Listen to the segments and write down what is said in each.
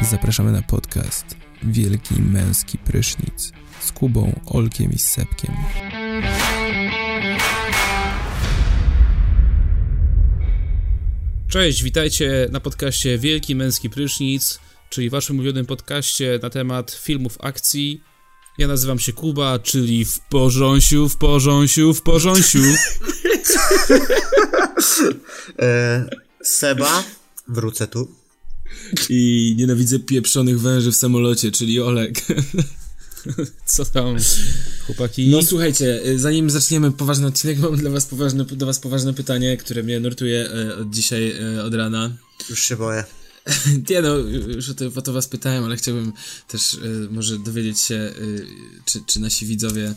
Zapraszamy na podcast Wielki Męski Prysznic z Kubą, Olkiem i Sepkiem. Cześć, witajcie na podcaście Wielki Męski Prysznic, czyli waszym ulubionym podcaście na temat filmów akcji. Ja nazywam się Kuba, czyli w porząsiu, w porząsiu, w porząsiu. E, Seba, wrócę tu. I nienawidzę pieprzonych węży w samolocie, czyli Olek. Co tam, chłopaki? No słuchajcie, y, zanim zaczniemy poważny odcinek, mam dla was poważne, do was poważne pytanie, które mnie nurtuje y, od dzisiaj, y, od rana. Już się boję. Nie no, już o to, o to was pytałem, ale chciałbym też y, może dowiedzieć się, y, czy, czy nasi widzowie,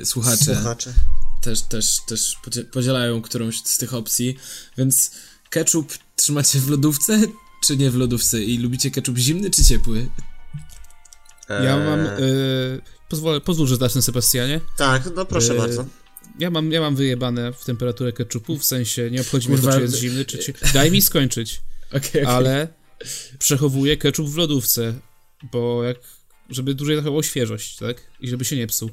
y, słuchacze, Słuchacze. też, też, też podzie- podzielają którąś z tych opcji, więc ketchup trzymacie w lodówce, czy nie w lodówce? I lubicie ketchup zimny, czy ciepły? Ja mam... E, Y, pozwolę, pozwól, że zacznę, Sebastianie. tak, no proszę e, bardzo. Ja mam, ja mam wyjebane w temperaturę keczupu, w sensie nie obchodzi mnie to, Kurwa, czy jest zimny, czy... Ci... Daj mi skończyć. Okej, ale przechowuję keczup w lodówce, bo jak, żeby dłużej zachował świeżość, tak? I żeby się nie psuł.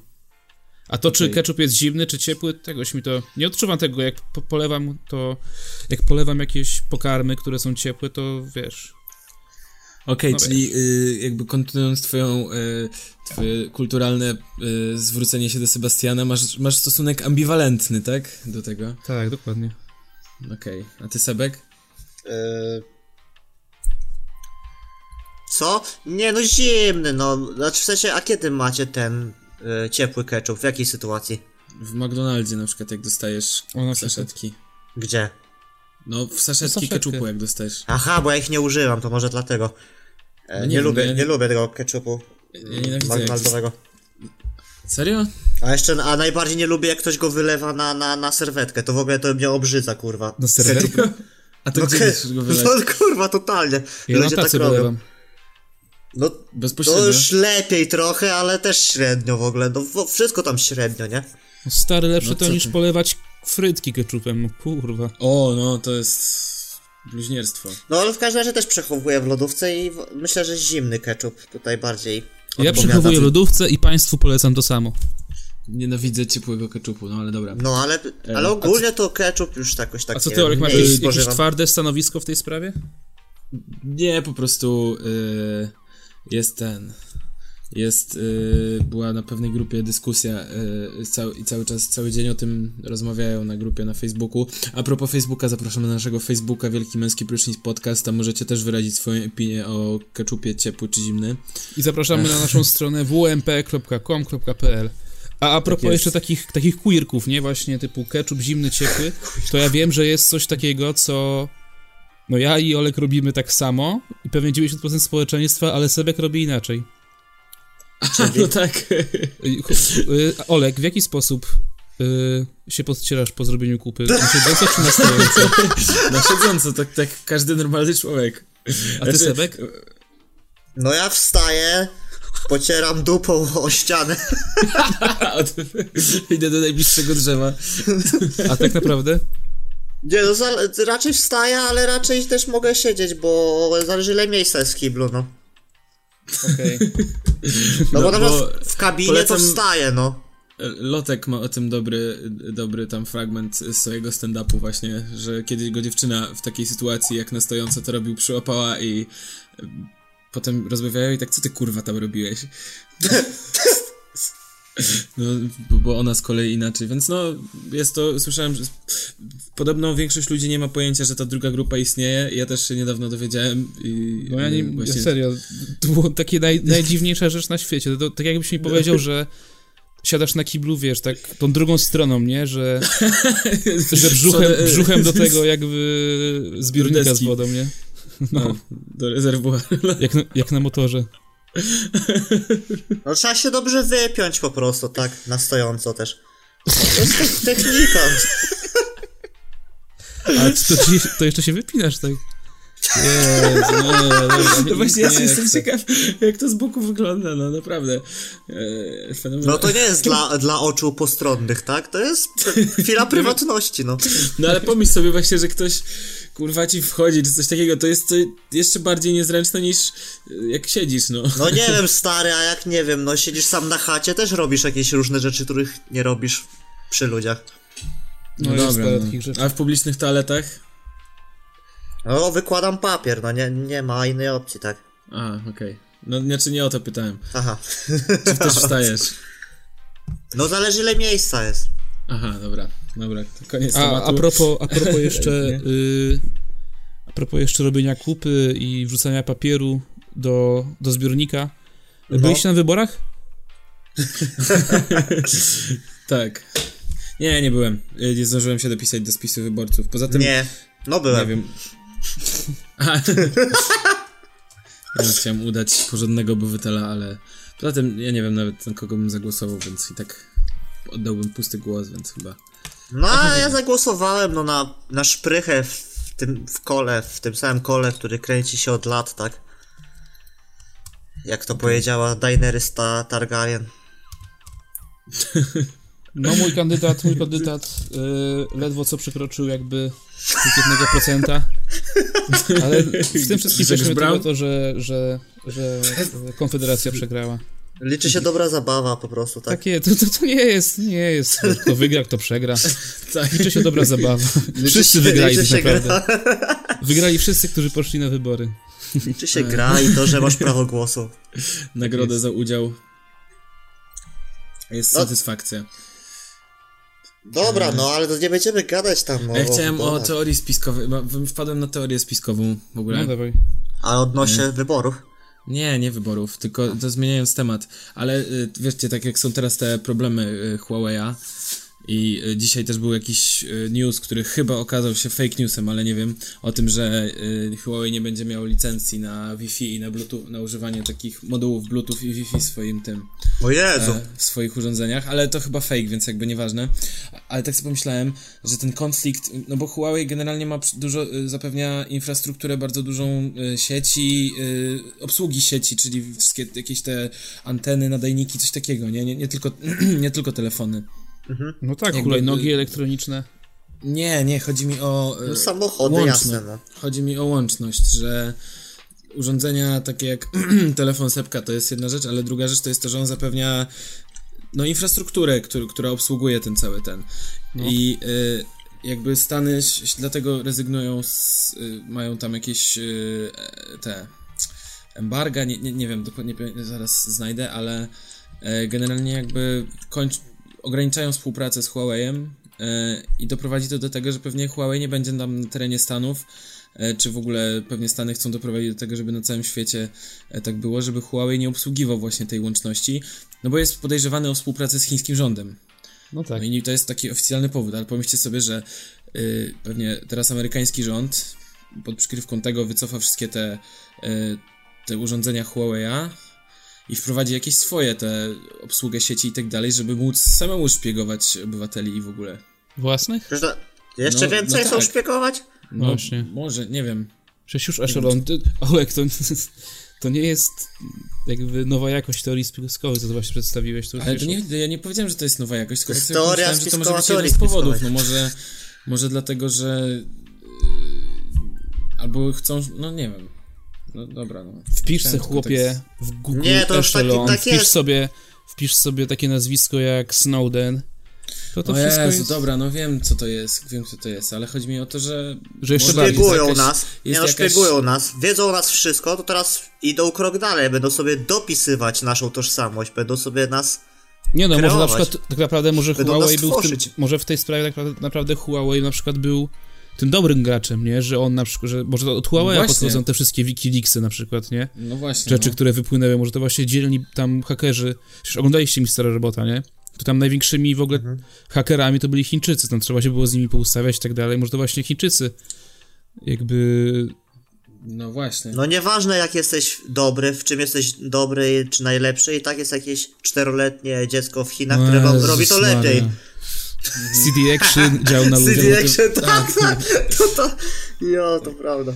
A to, czy Okej. keczup jest zimny, czy ciepły, tegoś mi to... Nie odczuwam tego, jak po polewam to... Jak polewam jakieś pokarmy, które są ciepłe, to wiesz... Okej, No czyli y, jakby kontynuując twoją, y, twoje kulturalne y, zwrócenie się do Sebastiana, masz, masz stosunek ambiwalentny, tak? Do tego. Tak, dokładnie. Okej, a ty Sebek? E, co? Nie, no zimny, no. Znaczy w sensie, a kiedy macie ten e, ciepły ketchup? W jakiej sytuacji? W McDonaldzie na przykład jak dostajesz O, na przykład. saszetki. Gdzie? No w Saszetkę. saszetki keczupu jak dostajesz. Aha, bo ja ich nie używam, to może dlatego. E, No nie, nie wiem, lubię, no ja nie, nie- lubię tego ketchupu. Ja nienawidzę jak McDonaldowego. Serio? A jeszcze, a najbardziej nie lubię jak ktoś go wylewa na, na, na serwetkę, to w ogóle to mnie obrzydza, kurwa. No Na serwetkę? Ketchup- A to No, gdzie ke- chcesz go wylać? no kurwa, totalnie. Ja na Ludzie tak tacy robią. polewam. No Bezpośrednio. to już lepiej trochę, ale też średnio w ogóle. No wo- wszystko tam średnio, nie? No Stary, lepsze No to co niż ty? polewać frytki keczupem, no kurwa. O, no to jest bluźnierstwo. No ale w każdym razie też przechowuję w lodówce i w... myślę, że zimny ketchup tutaj bardziej. Ja odpowiada. przechowuję w lodówce i państwu polecam to samo. Tak, Nienawidzę ciepłego keczupu, no ale dobra. No ale, a ale co- ogólnie to ketchup już jakoś tak E, A co nie ty, wiem, Olek, masz mniej jakieś- jakieś spożywam. twarde stanowisko w tej sprawie? Nie, po prostu y, jest ten. Jest, y, była na pewnej grupie dyskusja y, cały, i cały czas, cały dzień o tym rozmawiają na grupie na Facebooku. A propos Facebooka, zapraszamy na naszego Facebooka Wielki Męski Prysznic Podcast, tam możecie też wyrazić swoją opinię o keczupie ciepły czy zimny. I zapraszamy na naszą stronę wmp.com.pl. A a propos jest. jeszcze takich, takich queerków, nie? Właśnie typu ketchup zimny, ciepły, to ja wiem, że jest coś takiego, co no ja i Olek robimy tak samo i pewnie 90% społeczeństwa, ale Sebek robi inaczej. no tak. Y, ch- y, Olek, w jaki sposób y, się podcierasz po zrobieniu kupy? znaczy Na siedząco czy na stojąco? na siedząco, tak, tak każdy normalny człowiek. Znaczy, A ty, Sebek? No ja wstaję, pocieram dupą o ścianę. A, od, idę do najbliższego drzewa. A tak naprawdę? Nie, no zale- raczej wstaję, ale raczej też mogę siedzieć, bo zależy ile miejsca jest w kiblu, no. Okej. No, bo, na No, przykład bo w- w kabinie to polecam- wstaje, no. Lotek ma o tym dobry, dobry tam fragment z swojego stand-upu właśnie, że kiedyś go dziewczyna w takiej sytuacji jak na stojąco to robił, przyłapała i e, potem rozmawiają i tak, co ty kurwa tam robiłeś? No, bo- bo ona z kolei inaczej, więc no, jest to, słyszałem, że podobno większość ludzi nie ma pojęcia, że ta druga grupa istnieje, ja też się niedawno dowiedziałem i... No ja nie, i właśnie- serio, to było takie naj, najdziwniejsza rzecz na świecie. To, tak jakbyś mi powiedział, że siadasz na kiblu, wiesz, tak tą drugą stroną, nie, że, że brzuchem, Sorry, e, brzuchem do tego jakby zbiornika z Deski. wodą, nie? No, do rezerwuaru. Jak na, jak na motorze. No trzeba się dobrze wypiąć po prostu, tak, na stojąco też. To jest te- technika. A czy to, ci- to jeszcze się wypinasz, tak? Jezu, nie, dobra, nie, No właśnie, ja nie się jestem chcę. ciekaw, jak to z boku wygląda, no naprawdę. E, fenomenalne. No to nie jest dla, dla oczu postronnych, tak? To jest chwila prywatności, no. No ale pomyśl sobie właśnie, że ktoś kurwa ci wchodzi czy coś takiego, to jest to jeszcze bardziej niezręczne niż y, jak siedzisz, no. No nie wiem, stary, a jak nie wiem, no siedzisz sam na chacie, też robisz jakieś różne rzeczy, których nie robisz przy ludziach. No jest parę takich rzeczy. A w publicznych toaletach? No, wykładam papier, no nie, nie ma innej opcji, tak. A, okej. No znaczy nie o to pytałem. Aha. Czy też wstajesz? No zależy ile miejsca jest. Aha, dobra, dobra, to koniec A, tematu. a, propos, a propos jeszcze Nie? y, a propos jeszcze robienia kupy i wrzucania papieru do, do zbiornika. Byliście na wyborach? Tak. Nie, nie byłem. Y, Nie zdążyłem się dopisać do spisu wyborców. Poza tym. Nie. No Nie byłem. wiem. A, ja chciałem udać porządnego obywatela, ale poza tym ja nie wiem nawet na kogo bym zagłosował, więc i tak oddałbym pusty głos, więc chyba. No a ja zagłosowałem no, na, na szprychę w w tym w kole, w tym samym kole, który kręci się od lat, tak? Jak to powiedziała Daenerys ta, Targaryen. No mój kandydat, mój kandydat y, ledwo co przekroczył jakby 1%. Ale w tym wszystkim Grzegorz cieszymy Braun? tylko to, że, że, że y, Konfederacja przegrała. Tak. Liczy się dobra zabawa po prostu, tak? Takie, to, to, to nie jest, nie jest. Kto wygra, kto przegra. Tak. Liczy się dobra zabawa. Wszyscy się- wygrali liczy tak się gra. naprawdę. Wygrali wszyscy, którzy poszli na wybory. No Liczy się gra i to, że masz prawo głosu. Nagrodę za udział. Jest No. satysfakcja. Dobra, no ale to nie będziemy gadać tam. A Ja chciałem o tak. wyborach. teorii spiskowej. bo Wpadłem na teorię spiskową w ogóle. No dawaj. A odnośnie wyborów. E, Nie, nie wyborów, tylko to zmieniając temat. Ale y, wiecie, tak jak są teraz te problemy y, Huawei'a i y, dzisiaj też był jakiś y, news, który chyba okazał się fake newsem, ale nie wiem, o tym, że y, Huawei nie będzie miał licencji na Wi-Fi i na Bluetooth, na używanie takich modułów Bluetooth i Wi-Fi w swoim tym O Jezu. e, w swoich urządzeniach, ale to chyba fake, więc jakby nieważne. A- Ale tak sobie pomyślałem, że ten konflikt, no bo Huawei generalnie ma przy- dużo, y, zapewnia infrastrukturę bardzo dużą y, sieci, y, obsługi sieci, czyli wszystkie jakieś te anteny, nadajniki, coś takiego, nie, nie, nie, tylko, nie tylko telefony. No tak, Jakby- hulajnogi elektroniczne. Nie, nie, chodzi mi o... y, No, samochody, łączne. jasne, no. Chodzi mi o łączność, że urządzenia takie jak telefon sepka to jest jedna rzecz, ale druga rzecz to jest to, że on zapewnia no infrastrukturę, któr, która obsługuje ten cały ten. I y, jakby Stany ś- ś- dlatego rezygnują z, y, mają tam jakieś y, e, te embarga, nie, nie, nie wiem, dokładnie pe- zaraz znajdę, ale e, generalnie jakby kończ, ograniczają współpracę z Huawei'em e, i doprowadzi to do tego, że pewnie Huawei nie będzie tam na terenie Stanów, e, czy w ogóle pewnie Stany chcą doprowadzić do tego, żeby na całym świecie e, tak było, żeby Huawei nie obsługiwał właśnie tej łączności, no bo jest podejrzewany o współpracę z chińskim rządem. No tak. No i to jest taki oficjalny powód, ale pomyślcie sobie, że y, pewnie teraz amerykański rząd pod przykrywką tego wycofa wszystkie te, y, te urządzenia Huawei'a i wprowadzi jakieś swoje te obsługę sieci i tak dalej, żeby móc samemu szpiegować obywateli i w ogóle. Własnych? Przecież to- Jeszcze No, więcej no chcą tak. szpiegować? No, Właśnie. Może, nie wiem. Przecież już Echelon, ty- Olek, to, to nie jest jakby nowa jakość teorii spiskowej, co to właśnie przedstawiłeś. To już Ale wiesz, to nie, ja nie powiedziałem, że to jest nowa jakość, tylko To tak jest sobie teoria pomyślałem, że to spiskowa może być jeden z teorii powodów. No spiskowej. może, może dlatego, że y, albo chcą, no nie wiem. No dobra, no. Wpisz Chciałem sobie, tylko tak chłopie, w Google Nie, to już taki- Echelon, tak wpisz, jest. sobie, wpisz sobie takie nazwisko jak Snowden, to to o wszystko Jezu, jest... dobra, no wiem co to jest, wiem co to jest, ale chodzi mi o to, że... Że jeszcze Może bardziej. jest Szpiegują jakaś- nas, nie jest no, jakaś- szpiegują nas, wiedzą o nas wszystko, to teraz idą krok dalej, będą sobie dopisywać naszą tożsamość, będą sobie nas... Nie no, może na kreować. przykład, tak naprawdę może Będą Huawei nas był w tym, tworzyć. może w tej sprawie tak naprawdę, naprawdę Huawei na przykład był tym dobrym graczem, nie? Że on na przykład, że może to od Huawei Właśnie. podchodzą te wszystkie Wikileaksy na przykład, nie? No właśnie, rzeczy, Mhm. no. które wypłynęły, może to właśnie dzielni tam hakerzy. Przecież oglądaliście Mistera Robota, nie? To tam największymi w ogóle Mhm. hakerami to byli Chińczycy, tam trzeba się było z nimi poustawiać i tak dalej. Może to właśnie Chińczycy jakby... No właśnie. No nieważne jak jesteś dobry, w czym jesteś dobry czy najlepszy i tak jest jakieś czteroletnie dziecko w Chinach, które wam Jezus robi to Maria. lepiej. CD Action dział na ludzi. tak. CD Action, tak, tak, to to... tak. Jo, to prawda.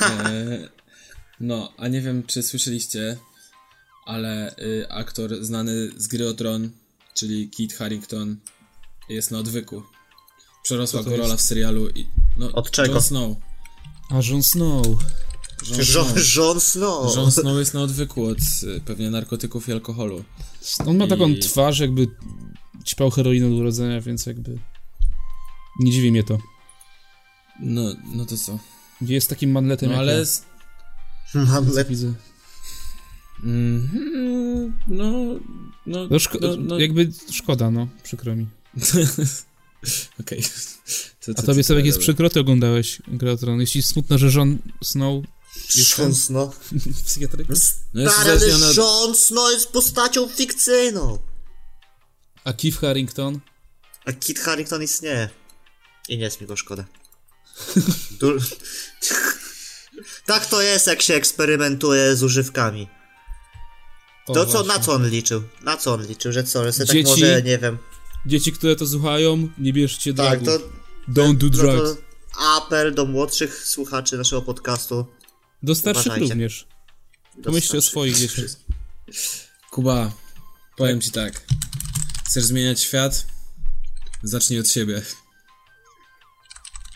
E, no, a nie wiem, czy słyszeliście, ale y, aktor znany z gry o tron, czyli Kit Harington, jest na odwyku. Przerosła Co to go rola jest? w serialu i... No, Od czego? Jon Snow. A Jon Snow. Jon Jon, Snow. Jon Snow. Jon Snow jest na odwyku od y, pewnie narkotyków i alkoholu. On ma taką I- twarz, jakby ćpał heroinę od urodzenia, więc jakby... Nie dziwi mnie to. No, no to co? Jest takim manletem, No jak ale... ja. z- Mam le... Widzę. Mhm, no... No, No, szko- no, no Jakby szkoda, no, przykro mi. Okej. Co- A co- tobie co- sobie jest dobra. przykro, ty oglądałeś Grę o Tron. Jeśli smutno, że Jon Snow Jon Snow. psychiatryk. No jest Stary, ale uzależniona od... Jon Snow jest postacią fikcyjną. A Keith Harrington? A Kit Harington istnieje. I nie jest mi go szkoda. Du- tak to jest, jak się eksperymentuje z używkami. O, To co, właśnie. na co on liczył? Na co on liczył, że co, że se Dzieci? tak może, nie wiem. Dzieci, które to słuchają, nie bierzcie Tak, dragów. to, Don't do no drugs. to apel do młodszych słuchaczy naszego podcastu. Do starszych uważajcie. również. Pomyślcie o Dostarczy- swoich dzieciach. Kuba, powiem ci tak. Chcesz zmieniać świat? Zacznij od siebie.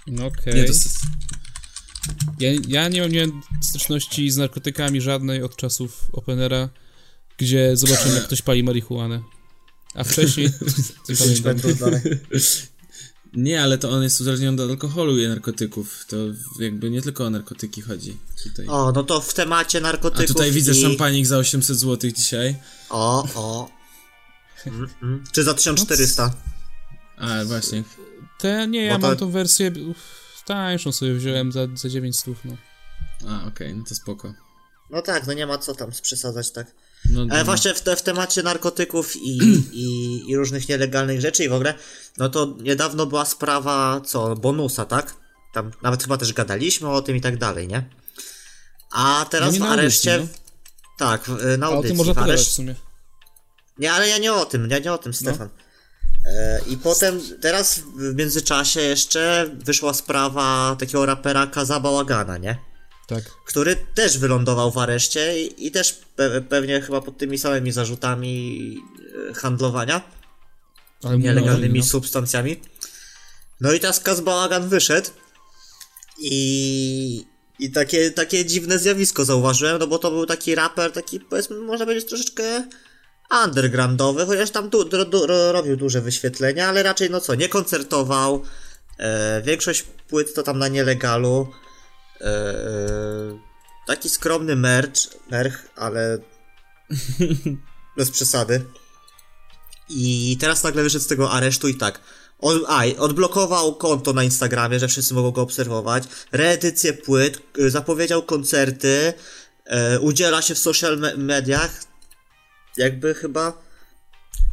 No okej. Nie, to s- Ja, ja nie mam nie mam styczności z narkotykami żadnej od czasów Openera, gdzie zobaczyłem, jak ktoś pali marihuanę. A wcześniej... nie pamiętam. Będą dalej. nie, ale to on jest uzależniony od alkoholu i narkotyków. To jakby nie tylko o narkotyki chodzi tutaj. O, no to w temacie A narkotyków. tutaj widzę i... szampanik za 800 zł dzisiaj. O, o. Mm, mm. Czy za 1400? A, właśnie. Te, nie, ja Bo to- mam tą wersję uff, tańszą sobie wziąłem za, za 9 stów, no. A, okej, no to spoko. No tak, no nie ma co tam przesadzać tak. No, Ale no. właśnie w, te, w temacie narkotyków i, i, i różnych nielegalnych rzeczy i w ogóle, no to niedawno była sprawa, co, bonusa, tak? Tam nawet chyba też gadaliśmy o tym i tak dalej, nie? A teraz No nie w na areszcie... audycji, no. Tak, w, na A o audycji, tym można w pogadać w areszcie. sumie. Nie, ale ja nie o tym, ja nie o tym, Stefan. E, I potem, teraz w międzyczasie jeszcze wyszła sprawa takiego rapera Kaza Bałagana, nie? Tak. Który też wylądował w areszcie i, i też pe pewnie chyba pod tymi samymi zarzutami e, handlowania Ale mu nielegalnymi no. substancjami. No i teraz Kaz Bałagan wyszedł i, i takie, takie dziwne zjawisko zauważyłem, no bo to był taki raper, taki powiedzmy, można powiedzieć troszeczkę undergroundowy, chociaż tam du, du, du, ro- robił duże wyświetlenia, ale raczej no co, nie koncertował, e, większość płyt to tam na nielegalu, e, e, taki skromny merch, merch, ale bez przesady. I teraz nagle wyszedł z tego aresztu i tak. On, a, i odblokował konto na Instagramie, że wszyscy mogą go obserwować. Reedycję płyt, y, zapowiedział koncerty, e, udziela się w social me- mediach. Jakby chyba.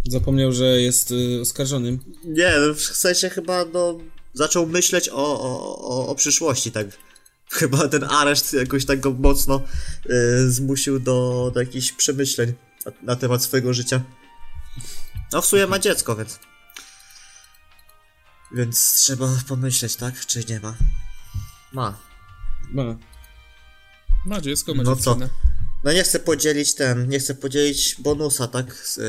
Zapomniał, że jest y, oskarżonym. Nie, w sensie chyba no, zaczął myśleć o, o, o, o przyszłości, tak. Chyba ten areszt jakoś tak go mocno y, zmusił do, do jakichś przemyśleń na, na temat swojego życia. No w sumie ma dziecko, więc. Więc trzeba pomyśleć, tak? Czy nie ma? Ma. Ma. Ma dziecko, ma No co? dziewczynę. No nie chcę podzielić ten, nie chcę podzielić bonusa, tak? Z, y,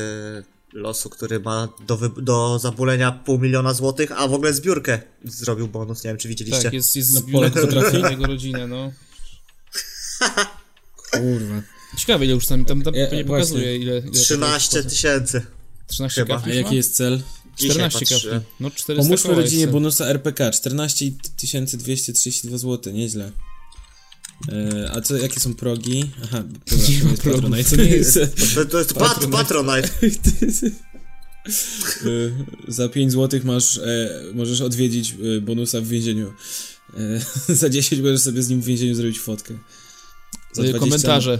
losu, który ma do, wy- do zabulenia pół miliona złotych, a w ogóle zbiórkę zrobił bonus, nie wiem czy widzieliście. Tak, jest, jest Na zbiórek Polak potrafi. na jego rodzinę, no. Kurwa. Ciekawe ile już tam, tam, tam Ja- nie właśnie. pokazuje ile... ile 13 tysięcy. 13 chyba. A kapli jaki ma? jest cel? Dzisiaj 14 patrzyłem. kapli. No 400 Pomóżmy koła rodzinie jeszcze. bonusa RPK 14 232 zł, nieźle. E, a co, jakie są progi? Aha, dobra, nie progów. to jest Patronite, to nie jest. To, to jest pat, Patronite. E, za 5 zł masz, e, możesz odwiedzić e, bonusa w więzieniu. E, za 10 możesz sobie z nim w więzieniu zrobić fotkę. Za Y, 20 Komentarze.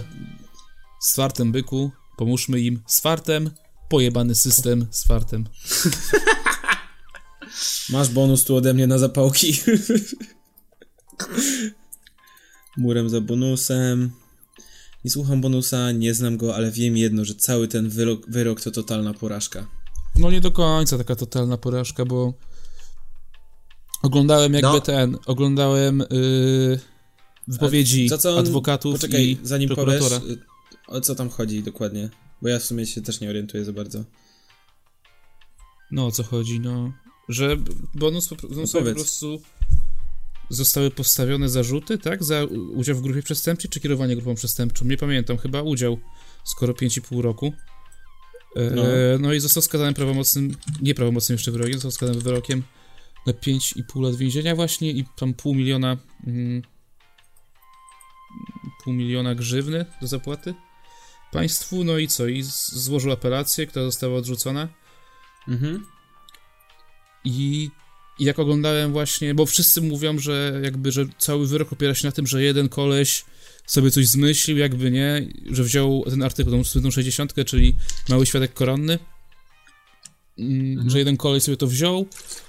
Z fartem byku, pomóżmy im. Z fartem, pojebany system z fartem. Masz bonus tu ode mnie na zapałki. Murem za bonusem. Nie słucham bonusa, nie znam go, ale wiem jedno, że cały ten wyrok, wyrok to totalna porażka. No nie do końca taka totalna porażka, bo oglądałem jakby No. ten, oglądałem y, wypowiedzi Co, co on... adwokatów Poczekaj, i zanim powiesz, prokuratora. y, o co tam chodzi dokładnie. Bo ja w sumie się też nie orientuję za bardzo. No o co chodzi, no. Że bonus, bonus po powiedz. prostu zostały postawione zarzuty, tak? Za u- udział w grupie przestępczej czy kierowanie grupą przestępczą? Nie pamiętam, chyba udział, skoro 5,5 roku. E, no. No. i został skazany prawomocnym, nieprawomocnym jeszcze wyrokiem, został skazany wyrokiem na 5,5 lat więzienia właśnie i tam pół miliona mm, pół miliona grzywny do zapłaty państwu, no i co? I z- złożył apelację, która została odrzucona. Mhm. I i jak oglądałem właśnie, bo wszyscy mówią, że jakby, że cały wyrok opiera się na tym, że jeden koleś sobie coś zmyślił, jakby nie, że wziął ten artykuł, tą słynną 60, czyli Mały Świadek Koronny, Mm, że jeden koleś sobie to wziął,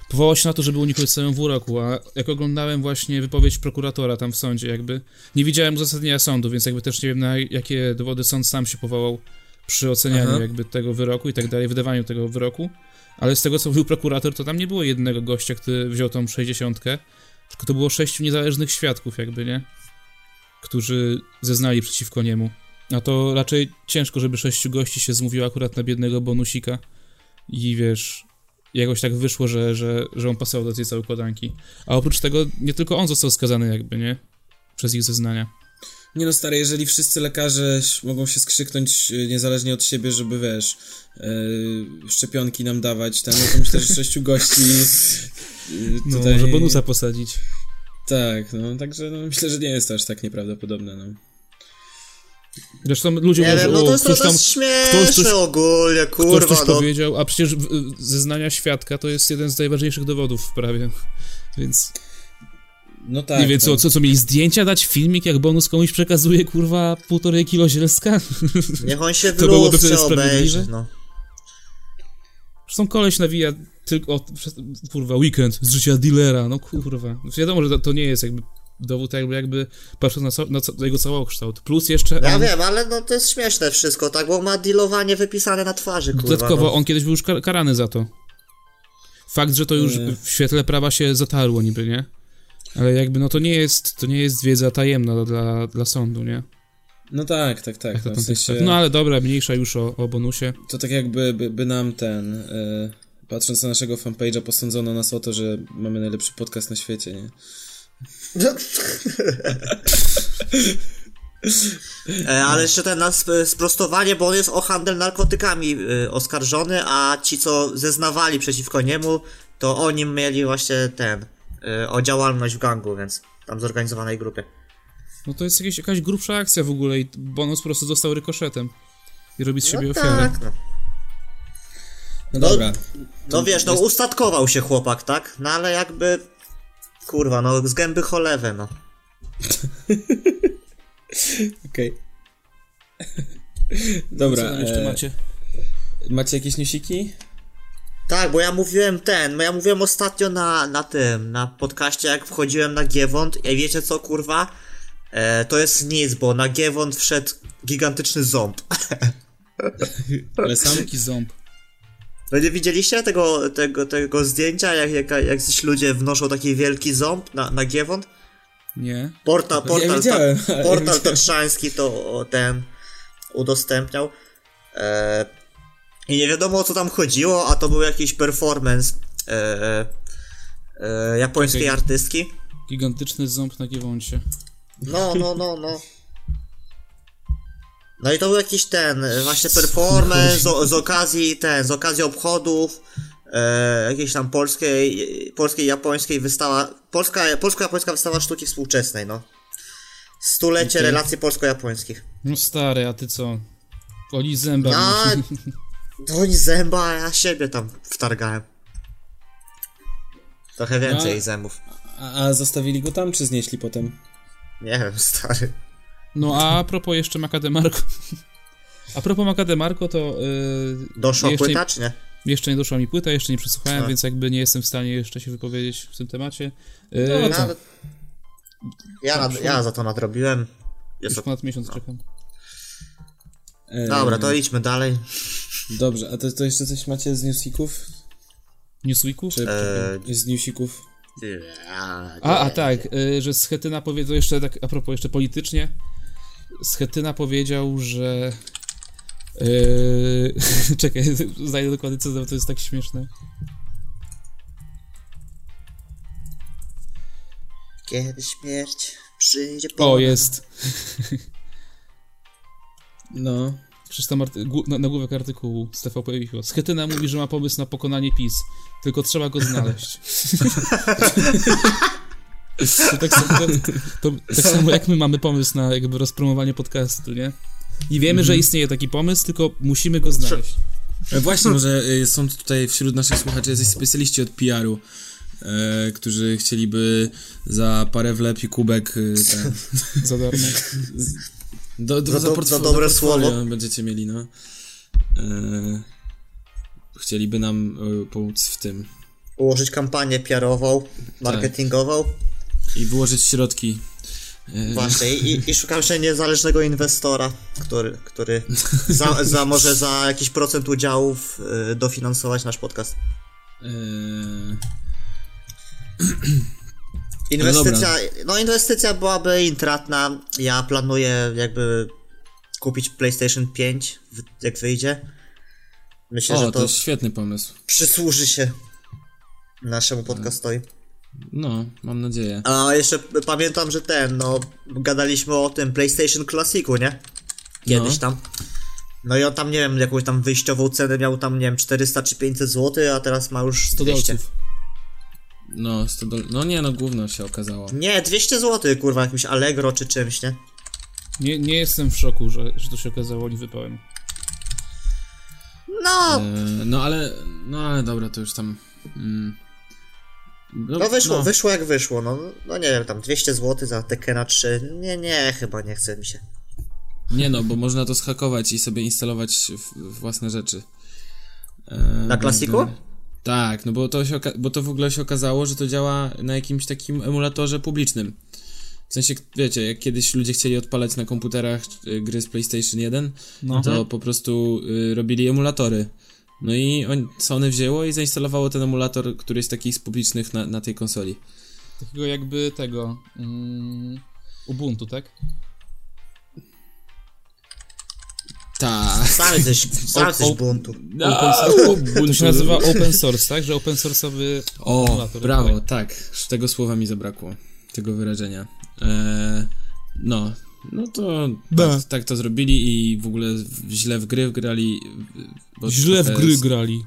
powołał się na to, żeby uniknąć całym wyroku, a jak oglądałem właśnie wypowiedź prokuratora tam w sądzie, jakby, nie widziałem uzasadnienia sądu, więc jakby też nie wiem, na jakie dowody sąd sam się powołał przy ocenianiu Aha. jakby tego wyroku i tak dalej, wydawaniu tego wyroku. Ale z tego, co mówił prokurator, to tam nie było jednego gościa, który wziął tą 60, tylko to było sześciu niezależnych świadków, jakby, nie? Którzy zeznali przeciwko niemu. A to raczej ciężko, żeby sześciu gości się zmówiło akurat na biednego bonusika. I wiesz, jakoś tak wyszło, że, że, że on pasował do tej całej układanki. A oprócz tego, nie tylko on został skazany, jakby, nie? Przez ich zeznania. Nie no stary, jeżeli wszyscy lekarze ś- mogą się skrzyknąć y, niezależnie od siebie, żeby wiesz, yy, szczepionki nam dawać, tam no to myślę, że sześciu gości yy, No, tutaj... może bonusa posadzić. Tak, no także no, myślę, że nie jest to aż tak nieprawdopodobne, no. Zresztą ludzie Nie mówią, że wiem, no to o, jest to ktoś tam jest śmieszne ktoś coś- ogólnie, Ktoś kurwa, coś no. powiedział, a przecież w- y, zeznania świadka to jest jeden z najważniejszych dowodów w prawie. Więc No tak. nie wiem, no. co, co, co mieli zdjęcia dać, filmik, jak bonus komuś przekazuje, kurwa, półtorej kilo zielska? Niech on się w To byłoby wtedy lustrze obejrzy, sprawiedliwe? no. Zresztą koleś nawija tylko, o, przez, kurwa, weekend z życia dealera, no kurwa. Wiadomo, że to, to nie jest jakby dowód, jakby, jakby patrząc na, so, na co, na jego całokształt. Plus jeszcze Ja on, wiem, ale no to jest śmieszne wszystko, tak, bo ma dealowanie wypisane na twarzy, kurwa, dodatkowo no. on kiedyś był już kar- karany za to. Fakt, że to już Nie. w świetle prawa się zatarło niby, nie? Ale jakby, no to nie jest, to nie jest wiedza tajemna dla, dla sądu, nie? No tak, tak, tak. To no, w tam sensie... tak- No ale dobra, mniejsza już o, o bonusie. To tak jakby by, by nam ten, y, patrząc na naszego fanpage'a, posądzono nas o to, że mamy najlepszy podcast na świecie, nie? No E, ale jeszcze ten nas e, sprostowanie, bo on jest o handel narkotykami e, oskarżony, a ci co zeznawali przeciwko niemu, to oni mieli właśnie ten e, o działalność w gangu, więc tam zorganizowanej grupie. No to jest jakieś, jakaś grubsza akcja w ogóle i bonus po prostu dostał rykoszetem. I robi z siebie No ofiarę. tak, no. No dobra. No wiesz, no ustatkował się chłopak, tak? No ale jakby kurwa, no z gęby cholewę, no. Okej. dobra. Co tam jeszcze e, macie? macie jakieś newsiki? Tak, bo ja mówiłem ten, bo ja mówiłem ostatnio na, na tym, na podcaście, jak wchodziłem na Giewont i wiecie co, kurwa? E, to jest nic, bo na Giewont wszedł gigantyczny ząb. Ale sam... Taki ząb. No nie widzieliście tego, tego, tego zdjęcia, jak, jak, jak coś ludzie wnoszą taki wielki ząb na, na Giewont? Nie? Porta, portal, ja widziałem. Ta, ale ja portal widziałem. tatrzański to o, ten udostępniał. E, I nie wiadomo o co tam chodziło, a to był jakiś performance e, e, japońskiej Okej. artystki. Gigantyczny ząb na giewoncie. No, no, no, no. No i to był jakiś ten e, właśnie performance z, z okazji ten, z okazji obchodów e, jakiejś tam polskiej, polskiej, japońskiej wystawa, polska, polsko-japońska wystawa sztuki współczesnej, no. Stulecie relacji polsko-japońskich. No stary, a ty co? Oli zęba. No, No. doń zęba, a ja siebie tam wtargałem. Trochę więcej No. zębów. A, a zostawili go tam, czy znieśli potem? Nie wiem, stary. no a propos jeszcze Makademarko. A propos Makademarko, to yy, Doszła jeszcze, płyta, czy nie? jeszcze nie doszła mi płyta, jeszcze nie przesłuchałem, A. więc jakby nie jestem w stanie jeszcze się wypowiedzieć w tym temacie. No, Yy, to- no, Nawet- Ja, nad, ja za to nadrobiłem. Jest już ponad miesiąc czekam. E, Dobra, to idźmy dalej. Dobrze, a to, to jeszcze coś macie z newsików? Newsweeku? Czy, Eee. czy z newsików? A, a tak, y, że Schetyna powiedział jeszcze, tak a propos jeszcze politycznie, Schetyna powiedział, że... y, czekaj, znajdę dokładnie cytat, bo to jest tak śmieszne. Kiedy śmierć przyjdzie po O, nas. jest. No. Przecież tam arty- gó- na- nagłówek artykułu z TVP Wicho. Schetyna mówi, że ma pomysł na pokonanie PiS, tylko trzeba go znaleźć. to, tak samo, to, tak samo jak my mamy pomysł na jakby rozpromowanie podcastu, nie? I wiemy, że istnieje taki pomysł, tylko musimy go znaleźć. E, Właśnie, może e, są tutaj wśród naszych słuchaczy jacyś specjaliści od PR-u, e, którzy chcieliby za parę wlep i kubek e, ten, Za darmo. do, do, Za do- portfo- za dobre do portfolio słowo. Będziecie mieli, no. E, chcieliby nam e, pomóc w tym. Ułożyć kampanię PR-ową, marketingową. Tak. I wyłożyć środki. E, Właśnie, i, i szukam się niezależnego inwestora, który, który za, za może za jakiś procent udziałów y, dofinansować nasz podcast. e, Inwestycja, no inwestycja byłaby intratna. Ja planuję jakby kupić PlayStation 5, w- jak wyjdzie. Myślę, o, że to to jest świetny pomysł. przysłuży się naszemu podcastowi. No, mam nadzieję. A jeszcze p- pamiętam, że ten, no, gadaliśmy o tym PlayStation Classicu, nie? Kiedyś No. tam. No i on tam, nie wiem, jakąś tam wyjściową cenę miał tam, nie wiem, 400 czy 500 zł, a teraz ma już 100 200. dolców. No, sto dol- no nie, no gówno się okazało. Nie, 200 zł, kurwa, jakimś Allegro czy czymś, nie? Nie, nie jestem w szoku, że, że to się okazało niewypałem. No, E, no ale, no ale dobra, to już tam... Mm, no wyszło, wyszło jak wyszło, no, no nie wiem, tam 200 zł za Tekena 3, nie, nie, chyba nie chce mi się. Nie no, bo można to schakować i sobie instalować w, w własne rzeczy. E, Na klasiku? więc- Tak, no bo to, się oka- bo to w ogóle się okazało, że to działa na jakimś takim emulatorze publicznym. W sensie, wiecie, jak kiedyś ludzie chcieli odpalać na komputerach y, gry z PlayStation 1, No. to po prostu y, robili emulatory. No i on, Sony wzięło i zainstalowało ten emulator, który jest taki z publicznych na, na tej konsoli. Takiego jakby tego... Mm, Ubuntu, tak? Tak. Sam jesteś, O- sam jesteś o- buntu. Open source. No. To się nazywa open source, tak? Że open source'owy... O, emulator brawo, odpalę. tak. Z tego słowa mi zabrakło. Tego wyrażenia. Eee, no, no to Da. tak, tak to zrobili i w ogóle w- źle w gry wgrali. w- bo Źle w trochę gry z- grali.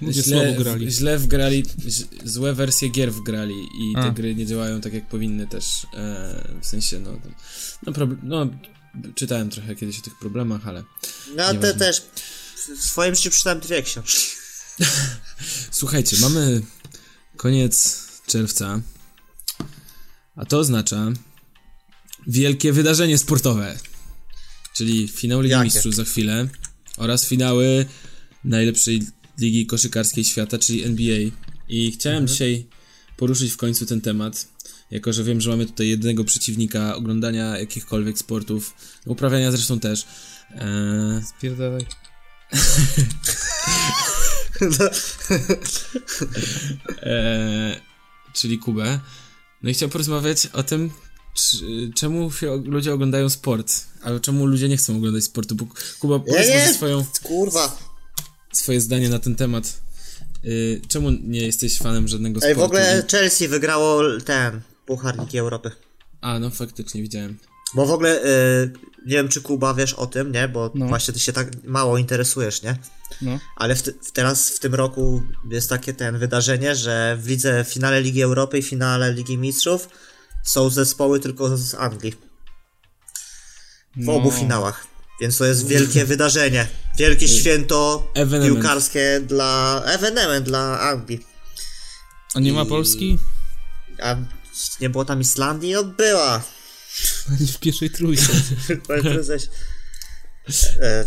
Ludzie Źle, słabo grali. w- źle wgrali, ź- złe wersje gier wgrali i A. te gry nie działają tak jak powinny też. Eee, w sensie, no, tam- no, prob- no, czytałem trochę kiedyś o tych problemach, ale No, te Nieważne. też, w swoim życiu przeczytałem dwie książki. Słuchajcie, mamy koniec czerwca, a to oznacza wielkie wydarzenie sportowe, czyli finał Ligi Jakie? Mistrzów za chwilę oraz finały najlepszej ligi koszykarskiej świata, czyli NBA. I chciałem dzisiaj poruszyć w końcu ten temat, jako że wiem, że mamy tutaj jednego przeciwnika oglądania jakichkolwiek sportów, uprawiania zresztą też. Eee, Spierdalaj. Eee, czyli Kubę. No i chciał porozmawiać o tym, czy, czemu się og- ludzie oglądają sport, albo czemu ludzie nie chcą oglądać sportu, bo Kuba, powiedz nie. może swoją, Kurwa. swoje zdanie na ten temat. Yy, czemu nie jesteś fanem żadnego sportu? Ej, w ogóle Chelsea wygrało ten Puchar Ligi Europy. A, no faktycznie widziałem. Bo w ogóle y, nie wiem, czy Kuba wiesz o tym, nie? Bo No. właśnie ty się tak mało interesujesz, nie? No. Ale w ty, w teraz w tym roku jest takie ten wydarzenie, że w lidze w finale Ligi Europy i finale Ligi Mistrzów są zespoły tylko z Anglii. W No. obu finałach. Więc to jest wielkie wydarzenie. Wielkie święto Ewenement. piłkarskie dla. Ewenement dla Anglii. A nie ma Polski? A nie było tam Islandii? No była. W pierwszej trójce. Panie prezesie. E,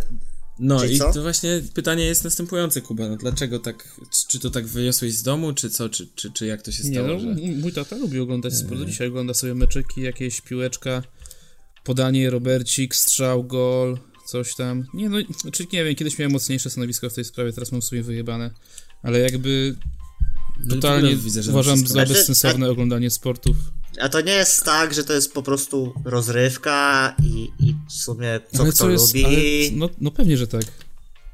No Czyli i co? to właśnie pytanie jest następujące, Kuba. No, dlaczego tak, czy, czy to tak wyniosłeś z domu, czy co, czy, czy, czy jak to się Nie, stało? no, że... mój tata lubi oglądać sport. Dzisiaj ogląda sobie meczyki, jakieś piłeczka, podanie, Robercik, strzał, gol, coś tam. Nie no, znaczy nie wiem, kiedyś miałem mocniejsze stanowisko w tej sprawie, teraz mam sobie wyjebane. Ale jakby Totalnie w ogóle widzę, że uważam wszystko- za Znaczy, bezsensowne oglądanie sportów. A to nie jest tak, że to jest po prostu rozrywka i, i w sumie co ale kto co jest, lubi. ale, no, no pewnie, że tak.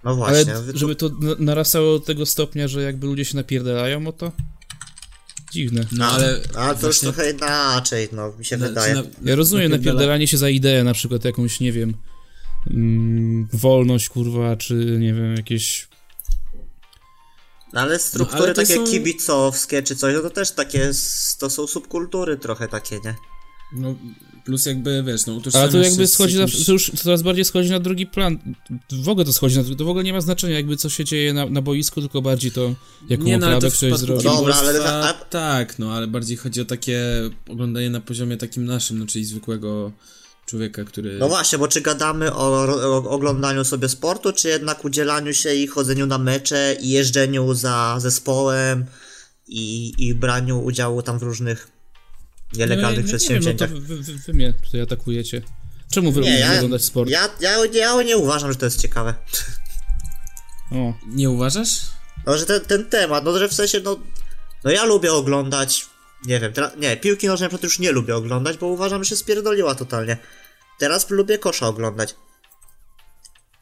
No właśnie. ale wy- żeby to na- narastało do tego stopnia, że jakby ludzie się napierdalają o to? Dziwne. No a, ale. a to już właśnie- trochę inaczej, no mi się na- wydaje. na- Ja rozumiem napierdala- napierdalanie się za ideę, na przykład jakąś, nie wiem, mm, wolność, kurwa, czy nie wiem, jakieś... No, ale struktury ale to takie są- kibicowskie czy coś, no to też takie, s- to są subkultury trochę takie, nie? No, plus jakby, wiesz, no utożsamiasz Ale to jakby się z schodzi, jakimś... na, to już coraz bardziej schodzi na drugi plan. W ogóle to schodzi na drugi, to w ogóle nie ma znaczenia, jakby co się dzieje na, na boisku, tylko bardziej to, jaką Nie, no, ale to oprawę ktoś w przypadku zrobił. No, Dobra, Dobra, ale ale to- a- tak, no ale bardziej chodzi o takie oglądanie na poziomie takim naszym, no czyli zwykłego człowieka, który... No właśnie, bo czy gadamy o, ro- o oglądaniu sobie sportu, czy jednak udzielaniu się i chodzeniu na mecze i jeżdżeniu za zespołem i, i braniu udziału tam w różnych nielegalnych no, przedsięwzięciach? Nie wiem, no to wy, wy, wy mnie tutaj atakujecie. Czemu wy lubicie oglądać sport? Ja, ja, ja nie uważam, że to jest ciekawe. O, Nie uważasz? No, że ten, ten temat, no że w sensie, no, no ja lubię oglądać, nie wiem, teraz, nie, piłki nożnej na przykład już nie lubię oglądać, bo uważam, że się spierdoliła totalnie. Teraz lubię kosza oglądać.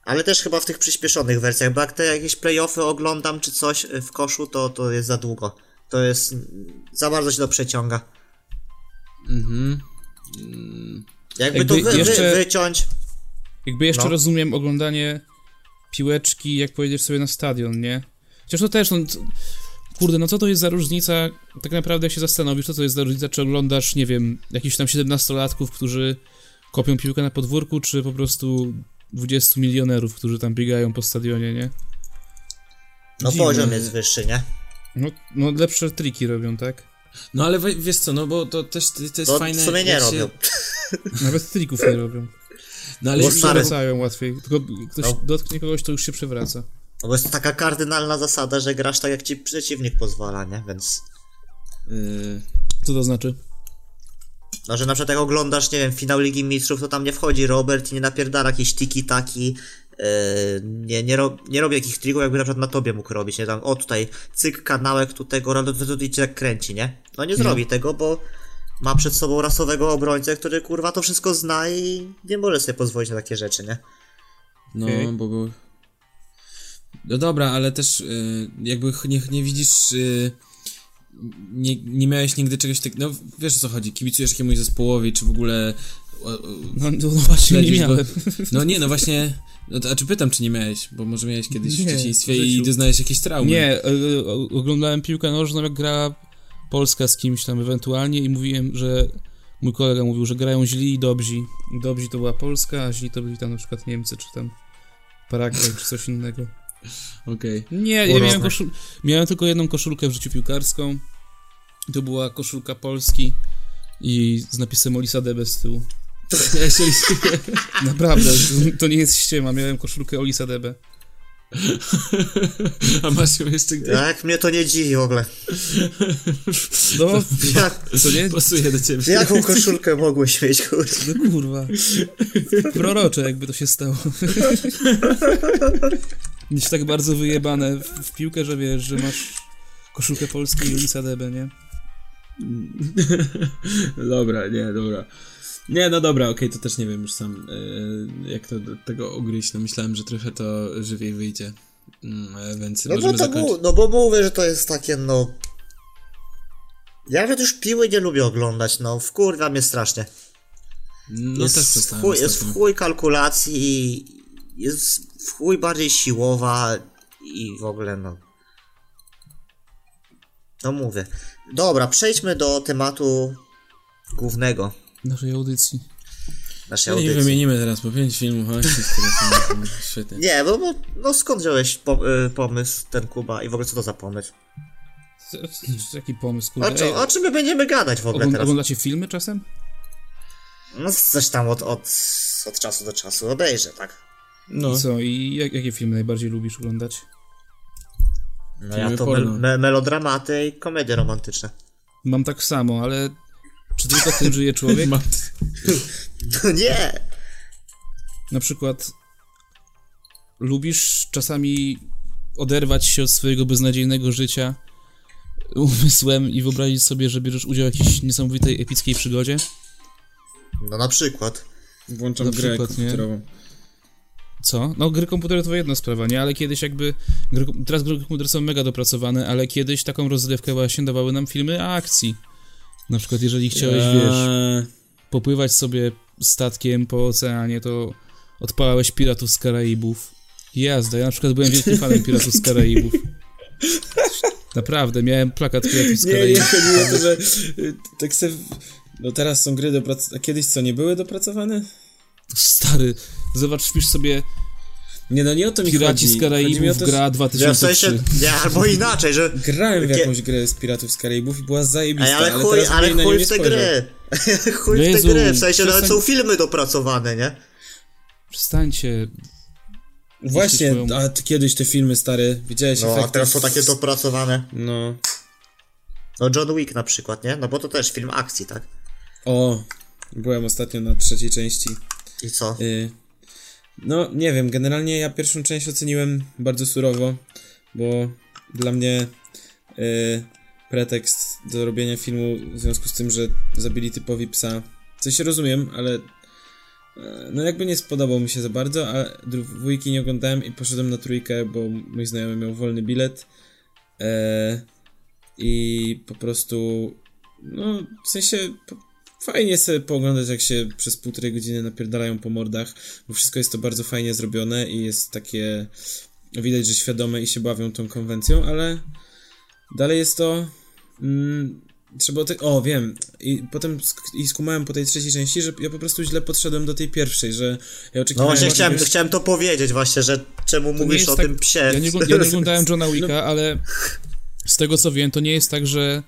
Ale też chyba w tych przyspieszonych wersjach, bo jak te jakieś playoffy oglądam czy coś y, w koszu, to, to jest za długo. To jest, mm, za bardzo się to przeciąga. Mhm. Mm, Jakby, Jakby to wy, jeszcze- wy, wyciąć, Jakby jeszcze No. rozumiem oglądanie piłeczki, jak pojedziesz sobie na stadion, nie? Chociaż to też, no, c- kurde, no co to jest za różnica, tak naprawdę jak się zastanowisz, co to jest za różnica, czy oglądasz, nie wiem, jakichś tam 17-latków, którzy kopią piłkę na podwórku, czy po prostu 20 milionerów, którzy tam biegają po stadionie, nie? no Dziwne. poziom jest wyższy, nie? No, no lepsze triki robią, tak? No ale we- wiesz co, no bo to też to jest To fajne... w sumie nie jak się- robią. Nawet trików nie robią. No ale Ale Bo się stary- przewracają łatwiej, tylko ktoś No. dotknie kogoś, to już się przewraca. No bo jest taka kardynalna zasada, że grasz tak jak ci przeciwnik pozwala, nie? Więc... y, Co to znaczy? No, że na przykład jak oglądasz, nie wiem, finał Ligi Mistrzów, to tam nie wchodzi Robert i nie napierdala jakiś tiki-taki, yy, nie, nie, ro, nie robi jakichś trików, jakby na przykład na tobie mógł robić, nie tam, o tutaj, cyk, kanałek tu tego, rano tutaj cię tak kręci, nie? No nie zrobi tego, bo ma przed sobą rasowego obrońcę, który kurwa to wszystko zna i nie może sobie pozwolić na takie rzeczy, nie? no, Okej. bo był... No dobra, ale też y, jakby ch- nie, nie widzisz... Y, nie, nie miałeś nigdy czegoś takiego... No wiesz o co chodzi, kibicujesz jakiemuś zespołowi, czy w ogóle... o- o- No, no właśnie, nie śledzisz, bo- miałem. No nie, no właśnie. No to, a czy pytam, czy nie miałeś? Bo może miałeś kiedyś Nie, w dzieciństwie w i życiu. doznałeś jakiejś traumy. Nie, y, o- oglądałem piłkę nożną, jak grała Polska z kimś tam ewentualnie i mówiłem, że mój kolega mówił, że grają źli i dobrzy. Dobrzy to była Polska, a źli to byli tam na przykład Niemcy, czy tam Paragwaj, czy coś innego. Okej. Nie, ja Urosłe. miałem, koszul... miałem tylko jedną koszulkę w życiu piłkarską. To była koszulka Polski i z napisem Olisa Debe z tyłu. Ja się listuję. Naprawdę, to- to nie jest ściema, miałem koszulkę Olisa Debe. A masz ją jeszcze gdzieś? A jak mnie to nie dziwi w ogóle. No, Jak, co nie? Pasuje do ciebie. jaką koszulkę mogłeś mieć, kurwa? No kurwa. Prorocze, jakby to się stało. Mieć tak bardzo wyjebane w, w piłkę, że wiesz, że masz koszulkę Polski i Ulisa Debe, nie? Dobra, nie, dobra. Nie, no dobra, okej, to też nie wiem już sam, e, jak to do tego ugryźć. No myślałem, że trochę to żywiej wyjdzie. Mm, e, więc No bo, możemy to zakończyć. mu, no bo mówię, że to jest takie, no... Ja nawet już piły nie lubię oglądać, no wkurwa mnie strasznie. No jest, też w przestałem. chuj, jest w ostatnio. chuj kalkulacji, jest w chuj bardziej siłowa i w ogóle no... No mówię. Dobra, przejdźmy do tematu głównego Naszej audycji. naszej No nie audycji. wymienimy teraz po pięć filmów, o, które są świetnie. Nie, bo, bo no skąd wziąłeś po, y, pomysł ten Kuba i w ogóle co to za pomysł? Co- co- co- Jaki pomysł, O, No kurde. Ej, czy, o czym my będziemy gadać w ogóle ogląd- teraz? oglądacie filmy czasem? No coś tam od, od, od czasu do czasu obejrzę, tak? No, I co? I jak, jakie filmy najbardziej lubisz oglądać? No Filmy ja to porno. mel- me- melodramaty i komedie romantyczne. Mam tak samo, ale czy tylko tym żyje człowiek? mam... No nie! Na przykład lubisz czasami oderwać się od swojego beznadziejnego życia umysłem i wyobrazić sobie, że bierzesz udział w jakiejś niesamowitej, epickiej przygodzie? No na przykład. Włączam Na grę przykład, nie? komputerową. Co? No, gry komputerowe to jedna sprawa, nie? Ale kiedyś jakby. Gry, kom- teraz gry komputerowe są mega dopracowane, ale kiedyś taką rozrywkę właśnie dawały nam filmy akcji. Na przykład, jeżeli chciałeś, wiesz, Eee, popływać sobie statkiem po oceanie, to odpalałeś piratów z Karaibów. Jazda, ja na przykład byłem wielkim fanem piratów z Karaibów. Naprawdę, miałem plakat piratów z Nie, nie Karaibów. chodziło o to, że y, tak se... No teraz są gry dopracowane, a kiedyś co, nie były dopracowane? Stary, zobacz, wpisz sobie Nie, no nie o to mi Piraci chodzi. z Chodzi mi o Karaibów to, że gra Ja w 2003. sensie, ja, albo inaczej, że... Grałem w Kie- jakąś grę z Piratów z Karaibów i była Ej, zajebista, ale ale chuj, teraz bym ale jej na nią chuj nie w te spojrzał. gry. chuj w te Jezu, gry, w sensie nawet przestań- są filmy dopracowane, nie? Przestańcie, Właśnie, Jeśli swoją- a ty kiedyś te filmy stare, widziałeś No, a efekty teraz są z- takie dopracowane. No. No John Wick na przykład, nie? No bo to też film akcji, tak? O, byłem ostatnio na trzeciej części. I co? Y, No, nie wiem, generalnie ja pierwszą część oceniłem bardzo surowo, bo dla mnie y, pretekst do robienia filmu w związku z tym, że zabili typowi psa, coś się rozumiem, ale e, no jakby nie spodobał mi się za bardzo, a dru- dwójki nie oglądałem i poszedłem na trójkę, bo mój znajomy miał wolny bilet e, i po prostu no, w sensie po- fajnie sobie pooglądać, jak się przez półtorej godziny napierdalają po mordach, bo wszystko jest to bardzo fajnie zrobione i jest takie. Widać, że świadome i się bawią tą konwencją, ale dalej jest to. Mm, trzeba. o Te... O, wiem. I potem sk- i skumałem po tej trzeciej części, że ja po prostu źle podszedłem do tej pierwszej, że ja No oczekiwałem. właśnie chciałem, że- chciałem to powiedzieć właśnie, że czemu To nie mówisz jest o tak- tym psie? Ja nie, ogl- ja nie oglądałem Johna No. Wicka, ale z tego co wiem, to nie jest tak, że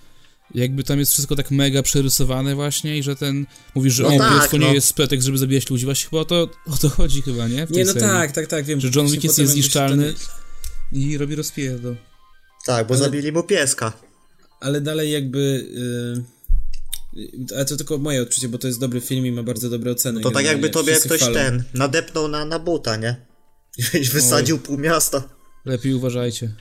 jakby tam jest wszystko tak mega przerysowane właśnie i że ten, mówisz, że No o, tak, pies to nie no. jest pretekst, żeby zabijać ludzi. Właśnie chyba o to, o to chodzi chyba, nie? W tej Nie, no serii. tak, tak, tak, wiem. Że John Właśnie Wick jest potem jakby się niezniszczalny wtedy- i robi rozpierdol. Tak, bo zabili mu pieska. Ale dalej jakby. Yy, ale to tylko moje odczucie, bo to jest dobry film i ma bardzo dobre oceny. To tak generalnie. jakby tobie Wszyscy ktoś chwalą. ten nadepnął na, na buta, nie? I wysadził pół miasta. Lepiej uważajcie.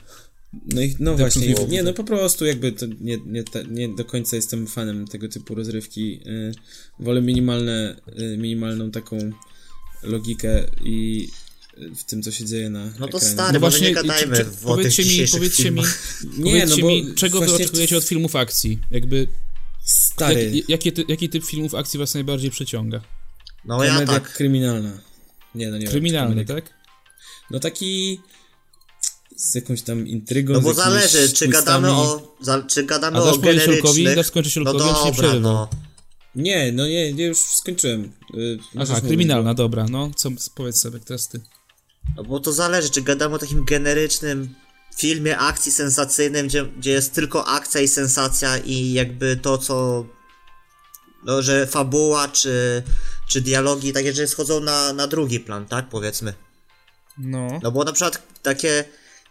No, i, no właśnie, Depresji. nie, no po prostu jakby to nie, nie, te, nie do końca jestem fanem tego typu rozrywki. y, wolę minimalne, y, minimalną taką logikę i y, w tym, co się dzieje na No to ekranie. stary, może nie gadajmy czy- czy- o tych powiedzcie mi, dzisiejszych powiedzcie mi, filmach. Nie, no powiedzcie bo mi, czego wy właśnie oczekujecie od filmów akcji? Jakby, jak, Stary, jaki, ty, jaki typ filmów akcji was najbardziej przyciąga? No ja komedia tak. kryminalna. Nie, no nie wiem, czy Kryminalny, komedia- tak? No taki z jakąś tam intrygą. No z bo jakimiś zależy, czy gadamy twistami. o. Za, czy gadamy A o dasz powiedzieć Julkowi, generycznych. dasz skończyć no Julkowi, on się nie dobra, przerywa. no. Nie, no nie, nie już skończyłem. Y, Aha, możesz kryminalna, dobra, no, co, powiedz sobie, teraz ty. no. Bo to zależy, czy gadamy o takim generycznym filmie akcji sensacyjnym, gdzie, gdzie jest tylko akcja i sensacja i jakby to, co. No, że fabuła, czy, czy dialogi, takie rzeczy schodzą na, na drugi plan, tak? Powiedzmy. No. No bo na przykład takie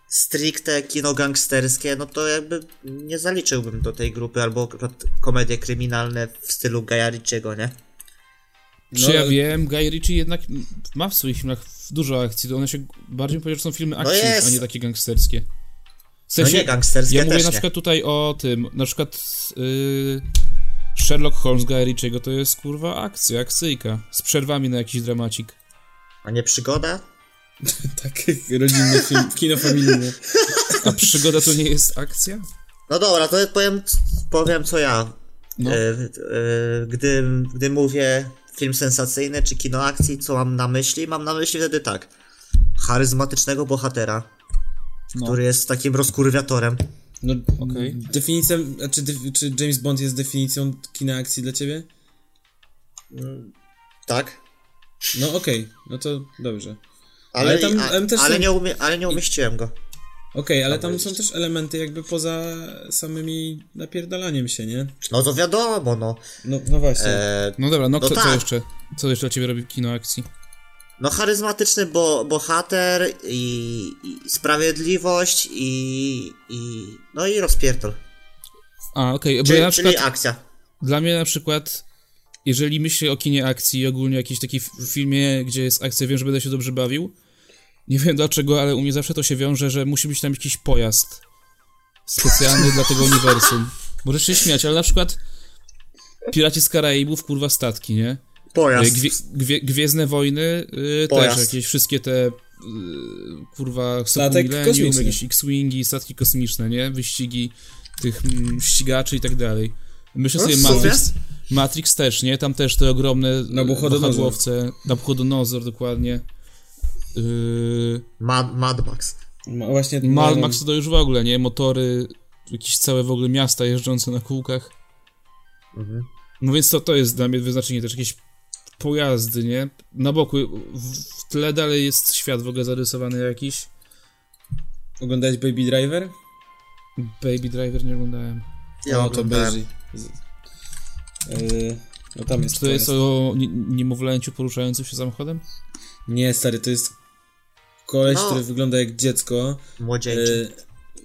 stricte kino gangsterskie, no to jakby nie zaliczyłbym do tej grupy, albo na przykład komedie kryminalne w stylu Gaja Ritchiego, nie? mówić. Czy ja wiem, Guy Ritchie jednak ma w swoich filmach dużo akcji, to one się bardziej powiedział, że są filmy akcji, No jest. a nie takie gangsterskie. W No sensie, nie, gangsterskie ja mówię też na nie. przykład tutaj o tym, na przykład yy, Sherlock Holmes Guy Ritchiego to jest kurwa akcja, akcyjka, z przerwami na jakiś dramacik. A nie przygoda? Tak, rodzinny film, kino familijne. A przygoda to nie jest akcja? No dobra, to powiem, powiem co ja. No. E, e, gdy, gdy mówię film sensacyjny czy kino akcji, co mam na myśli? Mam na myśli wtedy tak. Charyzmatycznego bohatera, No. który jest takim rozkurwiatorem. No, Okej. definicja, a czy, def- czy James Bond jest definicją kina akcji dla ciebie? Tak? No okej, no to dobrze. Ale, Ale tam- a, ale też ale, są- nie umie, ale nie umieściłem go. Okej, ale tam powiedzieć. są też elementy jakby poza samymi napierdalaniem się, nie? No to wiadomo, no. No, no właśnie. E, No dobra, no, No co, co tak. jeszcze? Co jeszcze dla ciebie robi kino akcji? No charyzmatyczny bo, bohater i, i sprawiedliwość i, i no i rozpierdol. A, okej, bo Czyli, ja na czyli przykład... akcja. Dla mnie na przykład, jeżeli myślę o kinie akcji i ogólnie jakiś taki f- filmie, gdzie jest akcja, wiem, że będę się dobrze bawił. Nie wiem dlaczego, ale u mnie zawsze to się wiąże, że musi być tam jakiś pojazd. specjalny dla tego uniwersum. Możesz się śmiać, ale na przykład Piraci z Karaibów, kurwa, statki, nie? Pojazd. Gwie, gwie, Gwiezdne Wojny y, też, Pojazd. jakieś wszystkie te y, kurwa Statek Millennium, kosmiczny. jakieś X-Wingi, statki kosmiczne, nie? Wyścigi tych mm, ścigaczy i tak dalej. Myślę No, sobie w sumie. Matrix, Matrix też, nie? Tam też te ogromne Nabuchodonozor. wahadłowce, Nabuchodonozor dokładnie. Yy, Mad, Mad Max. Ma, właśnie Mad no, Max to już w ogóle, nie? Motory, jakieś całe w ogóle miasta jeżdżące na kółkach. Mhm. No więc to, to jest dla mnie wyznaczenie też jakieś pojazdy, nie? Na boku, w, w tle dalej jest świat w ogóle zarysowany jakiś. Oglądałeś Baby Driver? Baby Driver nie oglądałem. Ja no, to oglądałem. Berzy. Z- Yy, no tam jest. Czy to jest o ni- niemowlęciu poruszającym się samochodem? Nie, stary, to jest koleś, No. który wygląda jak dziecko, Młodzieńczy.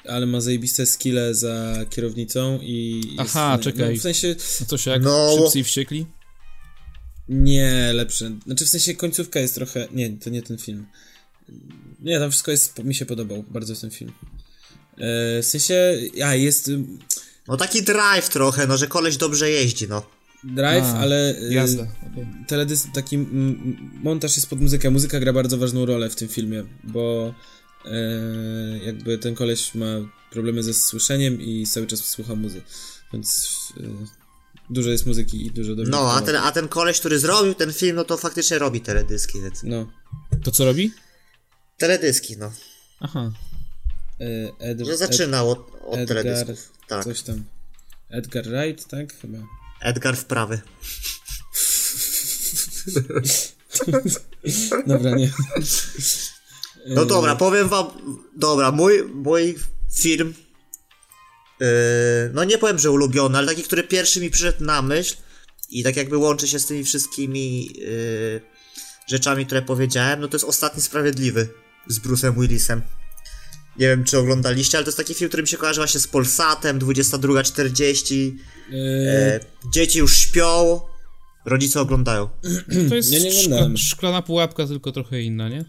yy, ale ma zajebiste skille za kierownicą i... jest- Aha, no, czekaj. No, w sensie, No to się jak No. szybcy i wściekli? nie, lepsze. Znaczy w sensie końcówka jest trochę... Nie, to nie ten film. Nie, tam wszystko jest... Mi się podobał bardzo ten film. Yy, w sensie... A, jest y, No taki drive trochę, no że koleś dobrze jeździ, no. Drive, A, ale... y, Jazda. okej. teledys taki mm, mm, montaż jest pod muzykę. Muzyka gra bardzo ważną rolę w tym filmie, bo e, jakby ten koleś ma problemy ze słyszeniem i cały czas słucha muzy. Więc e, dużo jest muzyki i dużo dobrze. No, a ten, a ten koleś, który zrobił ten film, no to faktycznie robi teledyski, więc... No. To co robi? Teledyski, no. Aha. E, Ed, Że zaczynał od, od Ed, Edgar, teledysków. Tak. coś tam. Edgar Wright, tak? Chyba. Edgar wprawy. Dobra, nie. No dobra, powiem wam. Dobra, mój, mój film. Yy, no nie powiem, że ulubiony, ale taki, który pierwszy mi przyszedł na myśl i tak jakby łączy się z tymi wszystkimi yy, rzeczami, które powiedziałem, no to jest Ostatni Sprawiedliwy z Bruce'em Willisem. Nie wiem, czy oglądaliście, ale to jest taki film, który mi się kojarzy właśnie z Polsatem, 22.40. E, E, dzieci już śpią, rodzice oglądają. To jest Ja nie szkla, oglądałem. szklana pułapka, tylko trochę inna, nie?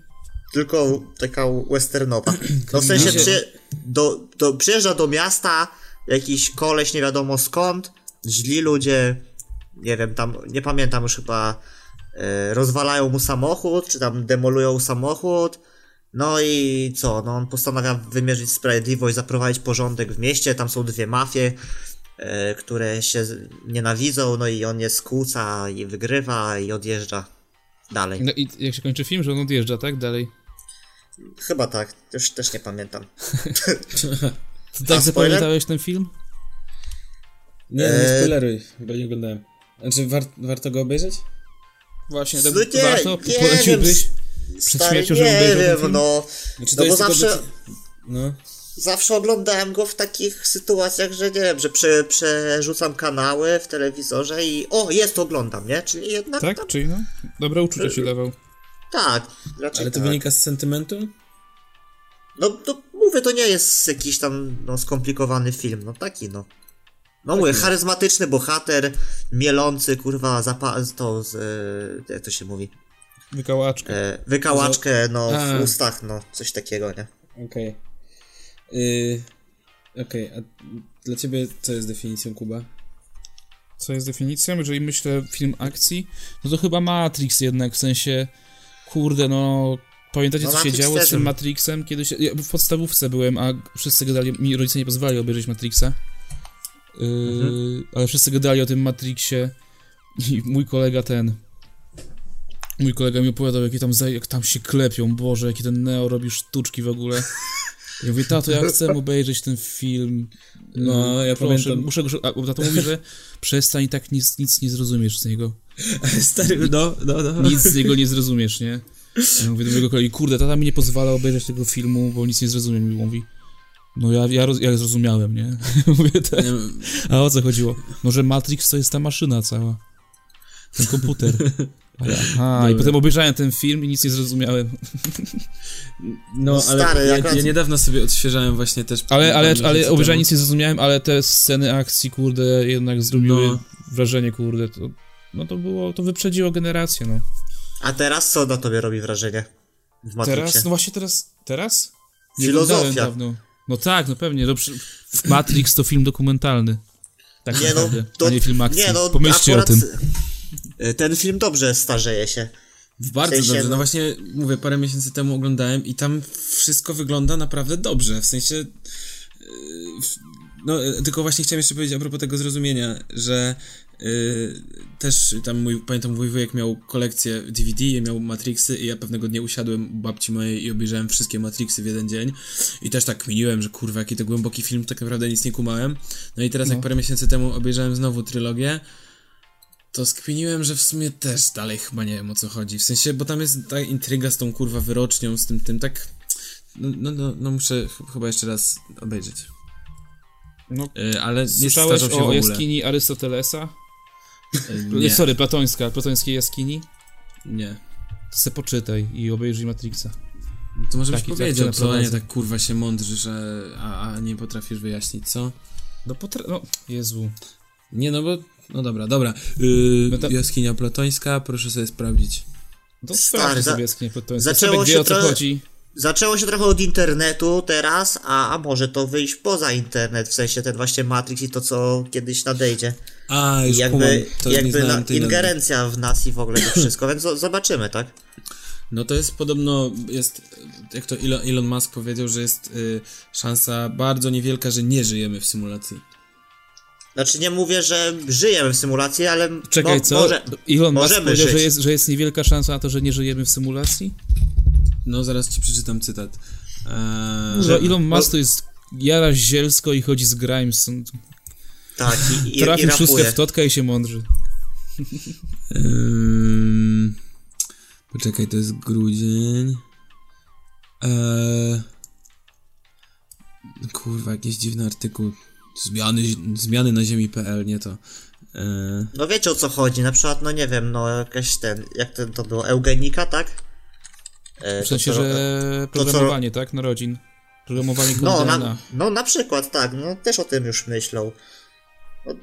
tylko taka westernowa. No w sensie przy, do, do, przyjeżdża do miasta jakiś koleś nie wiadomo skąd, źli ludzie, nie wiem tam, nie pamiętam już chyba, e, rozwalają mu samochód, czy tam demolują samochód, no i co, no on postanawia wymierzyć sprawiedliwość, zaprowadzić porządek w mieście, tam są dwie mafie, e, które się z- nienawidzą, no i on je skłóca i wygrywa i odjeżdża dalej. No i jak się kończy film, że on odjeżdża, tak? Dalej. Chyba tak, już też nie pamiętam. To tak A spoiler? zapamiętałeś ten film? nie, nie e, spoileruj, bo nie oglądałem. Znaczy, war, warto go obejrzeć? Właśnie, No tak nie, warto? nie Poleciłbyś? Przed Stary, śmiercią, żeby nie obejrzał ten wiem, film? no. Znaczy, No bo tylko zawsze, deci- No. zawsze oglądałem go w takich sytuacjach, że nie wiem, że prze, przerzucam kanały w telewizorze i o, jest, oglądam, nie? Czyli jednak Tak? tam- Czyli no? Dobre uczucie ci dawał. tak raczej Ale to tak. wynika z sentymentu? No to mówię, to nie jest jakiś tam no, skomplikowany film, no taki no. No mówię, charyzmatyczny bohater, mielący, kurwa, zapa- to z, e, jak to się mówi, Wykałaczka. e, wykałaczkę, no, A. w ustach, no, coś takiego, nie? Okej. Y, Okej, a dla ciebie co jest definicją Kuba? co jest definicją, jeżeli myślę film akcji, no to chyba Matrix jednak, w sensie, kurde, no... Pamiętacie, No co się Matrix działo z też tym był. Matrixem? Kiedyś, ja w podstawówce byłem, a wszyscy gadali, mi rodzice nie pozwali obejrzeć Matrixa, yy, Mhm. ale wszyscy gadali o tym Matrixie i mój kolega ten... Mój kolega mi opowiadał, jakie tam, za- jak tam się klepią, Boże, jakie ten Neo robi sztuczki w ogóle. Ja mówię, tato, ja chcę obejrzeć ten film. Mm, No, ja Proszę, pamiętam. Muszę go... A tato mówi, że przestań, tak nic, nic nie zrozumiesz z niego. Stary, no, no, no. Nic z niego nie zrozumiesz, nie? Ja mówię do mojego kolegi, kurde, tata mi nie pozwala obejrzeć tego filmu, bo nic nie zrozumiem. I mówi, no ja, ja, roz, ja zrozumiałem, nie? mówię, tak. No, A o co chodziło? Może Matrix to jest ta maszyna cała. Ten komputer. A ja, aha, i potem obejrzałem ten film i nic nie zrozumiałem. No, ale Stary, ja, akurat- ja niedawno sobie odświeżałem właśnie też... Ale, ale, parę ale miesięcy obejrzałem temu. nic nie zrozumiałem, ale te sceny akcji, kurde, jednak zrobiły No. wrażenie, kurde, to, no to było, to wyprzedziło generację, no. A teraz co na tobie robi wrażenie? W Matrixie? Teraz, no właśnie teraz, teraz? Filozofia. oglądałem dawno. No tak, no pewnie. No, przy... Matrix to film dokumentalny. Tak Nie no, naprawdę, to, a nie film akcji. nie no, Pomyślcie akurat o tym. y, Ten film dobrze starzeje się. Bardzo sensie- dobrze. No właśnie, mówię, parę miesięcy temu oglądałem i tam wszystko wygląda naprawdę dobrze. W sensie. yy, w- No, yy, tylko właśnie chciałem jeszcze powiedzieć a propos tego zrozumienia, że yy, też tam mój, pamiętam mój wujek miał kolekcję DVD, i miał Matrixy i ja pewnego dnia usiadłem u babci mojej i obejrzałem wszystkie Matrixy w jeden dzień i też tak kminiłem, że kurwa, jaki to głęboki film, tak naprawdę nic nie kumałem. No i teraz jak parę miesięcy temu obejrzałem znowu trylogię, to skminiłem, że w sumie też dalej chyba nie wiem o co chodzi. W sensie, bo tam jest ta intryga z tą kurwa wyrocznią, z tym tym tak. No, no, no, no muszę ch- chyba jeszcze raz obejrzeć. No, Y, ale nie Słyszałeś starzał się w o ogóle. jaskini Arystotelesa? Y, Nie. nie, Sorry, platońska, platońskiej jaskini? nie. To se poczytaj i obejrzyj Matrixa. To może byś Taki powiedział, tak cię co a nie naprowadzę. tak kurwa się mądrzysz, że- a, a nie potrafisz wyjaśnić, co? No potra... No, Jezu. Nie, no bo. No dobra, dobra. Yy, No to- Jaskinia platońska, proszę sobie sprawdzić. No To Stary, sprawdź za- sobie jaskinię platońską. zaczęło Sebek wie się o co trochę- chodzi. Zaczęło się trochę od internetu teraz, a, a może to wyjść poza internet, w sensie ten właśnie Matrix i to, co kiedyś nadejdzie. A, już jakby kumam, to nie jakby no, znałem na, tej nazwy. ingerencja w nas i w ogóle to wszystko, więc zo- zobaczymy, tak? No to jest podobno, jest, jak to Elon, Elon Musk powiedział, że jest y, szansa bardzo niewielka, że nie żyjemy w symulacji. Znaczy nie mówię, że żyjemy w symulacji, ale Czekaj, mo- co? No, może... Elon Musk możemy powiedział, że żyć. jest, że jest niewielka szansa na to, że nie żyjemy w symulacji? No zaraz ci przeczytam cytat. Eee, Że Elon No. Musk to jest jara zielsko i chodzi z Grimes. Tak, i, i, i Trafił szóstkę rapuje. w totka i się mądrzy. Ym, poczekaj, to jest grudzień. Eee, kurwa, jakiś dziwny artykuł. Zmiany, zmiany na ziemi.pl, nie to. Eee, No wiecie o co chodzi, na przykład, no nie wiem, no jakaś ten, jak ten to było, eugenika, tak? E, W sensie, to, co- że co- programowanie, tak? Narodzin. Programowanie No kondyna. na, no na przykład, tak, no też o tym już myślą.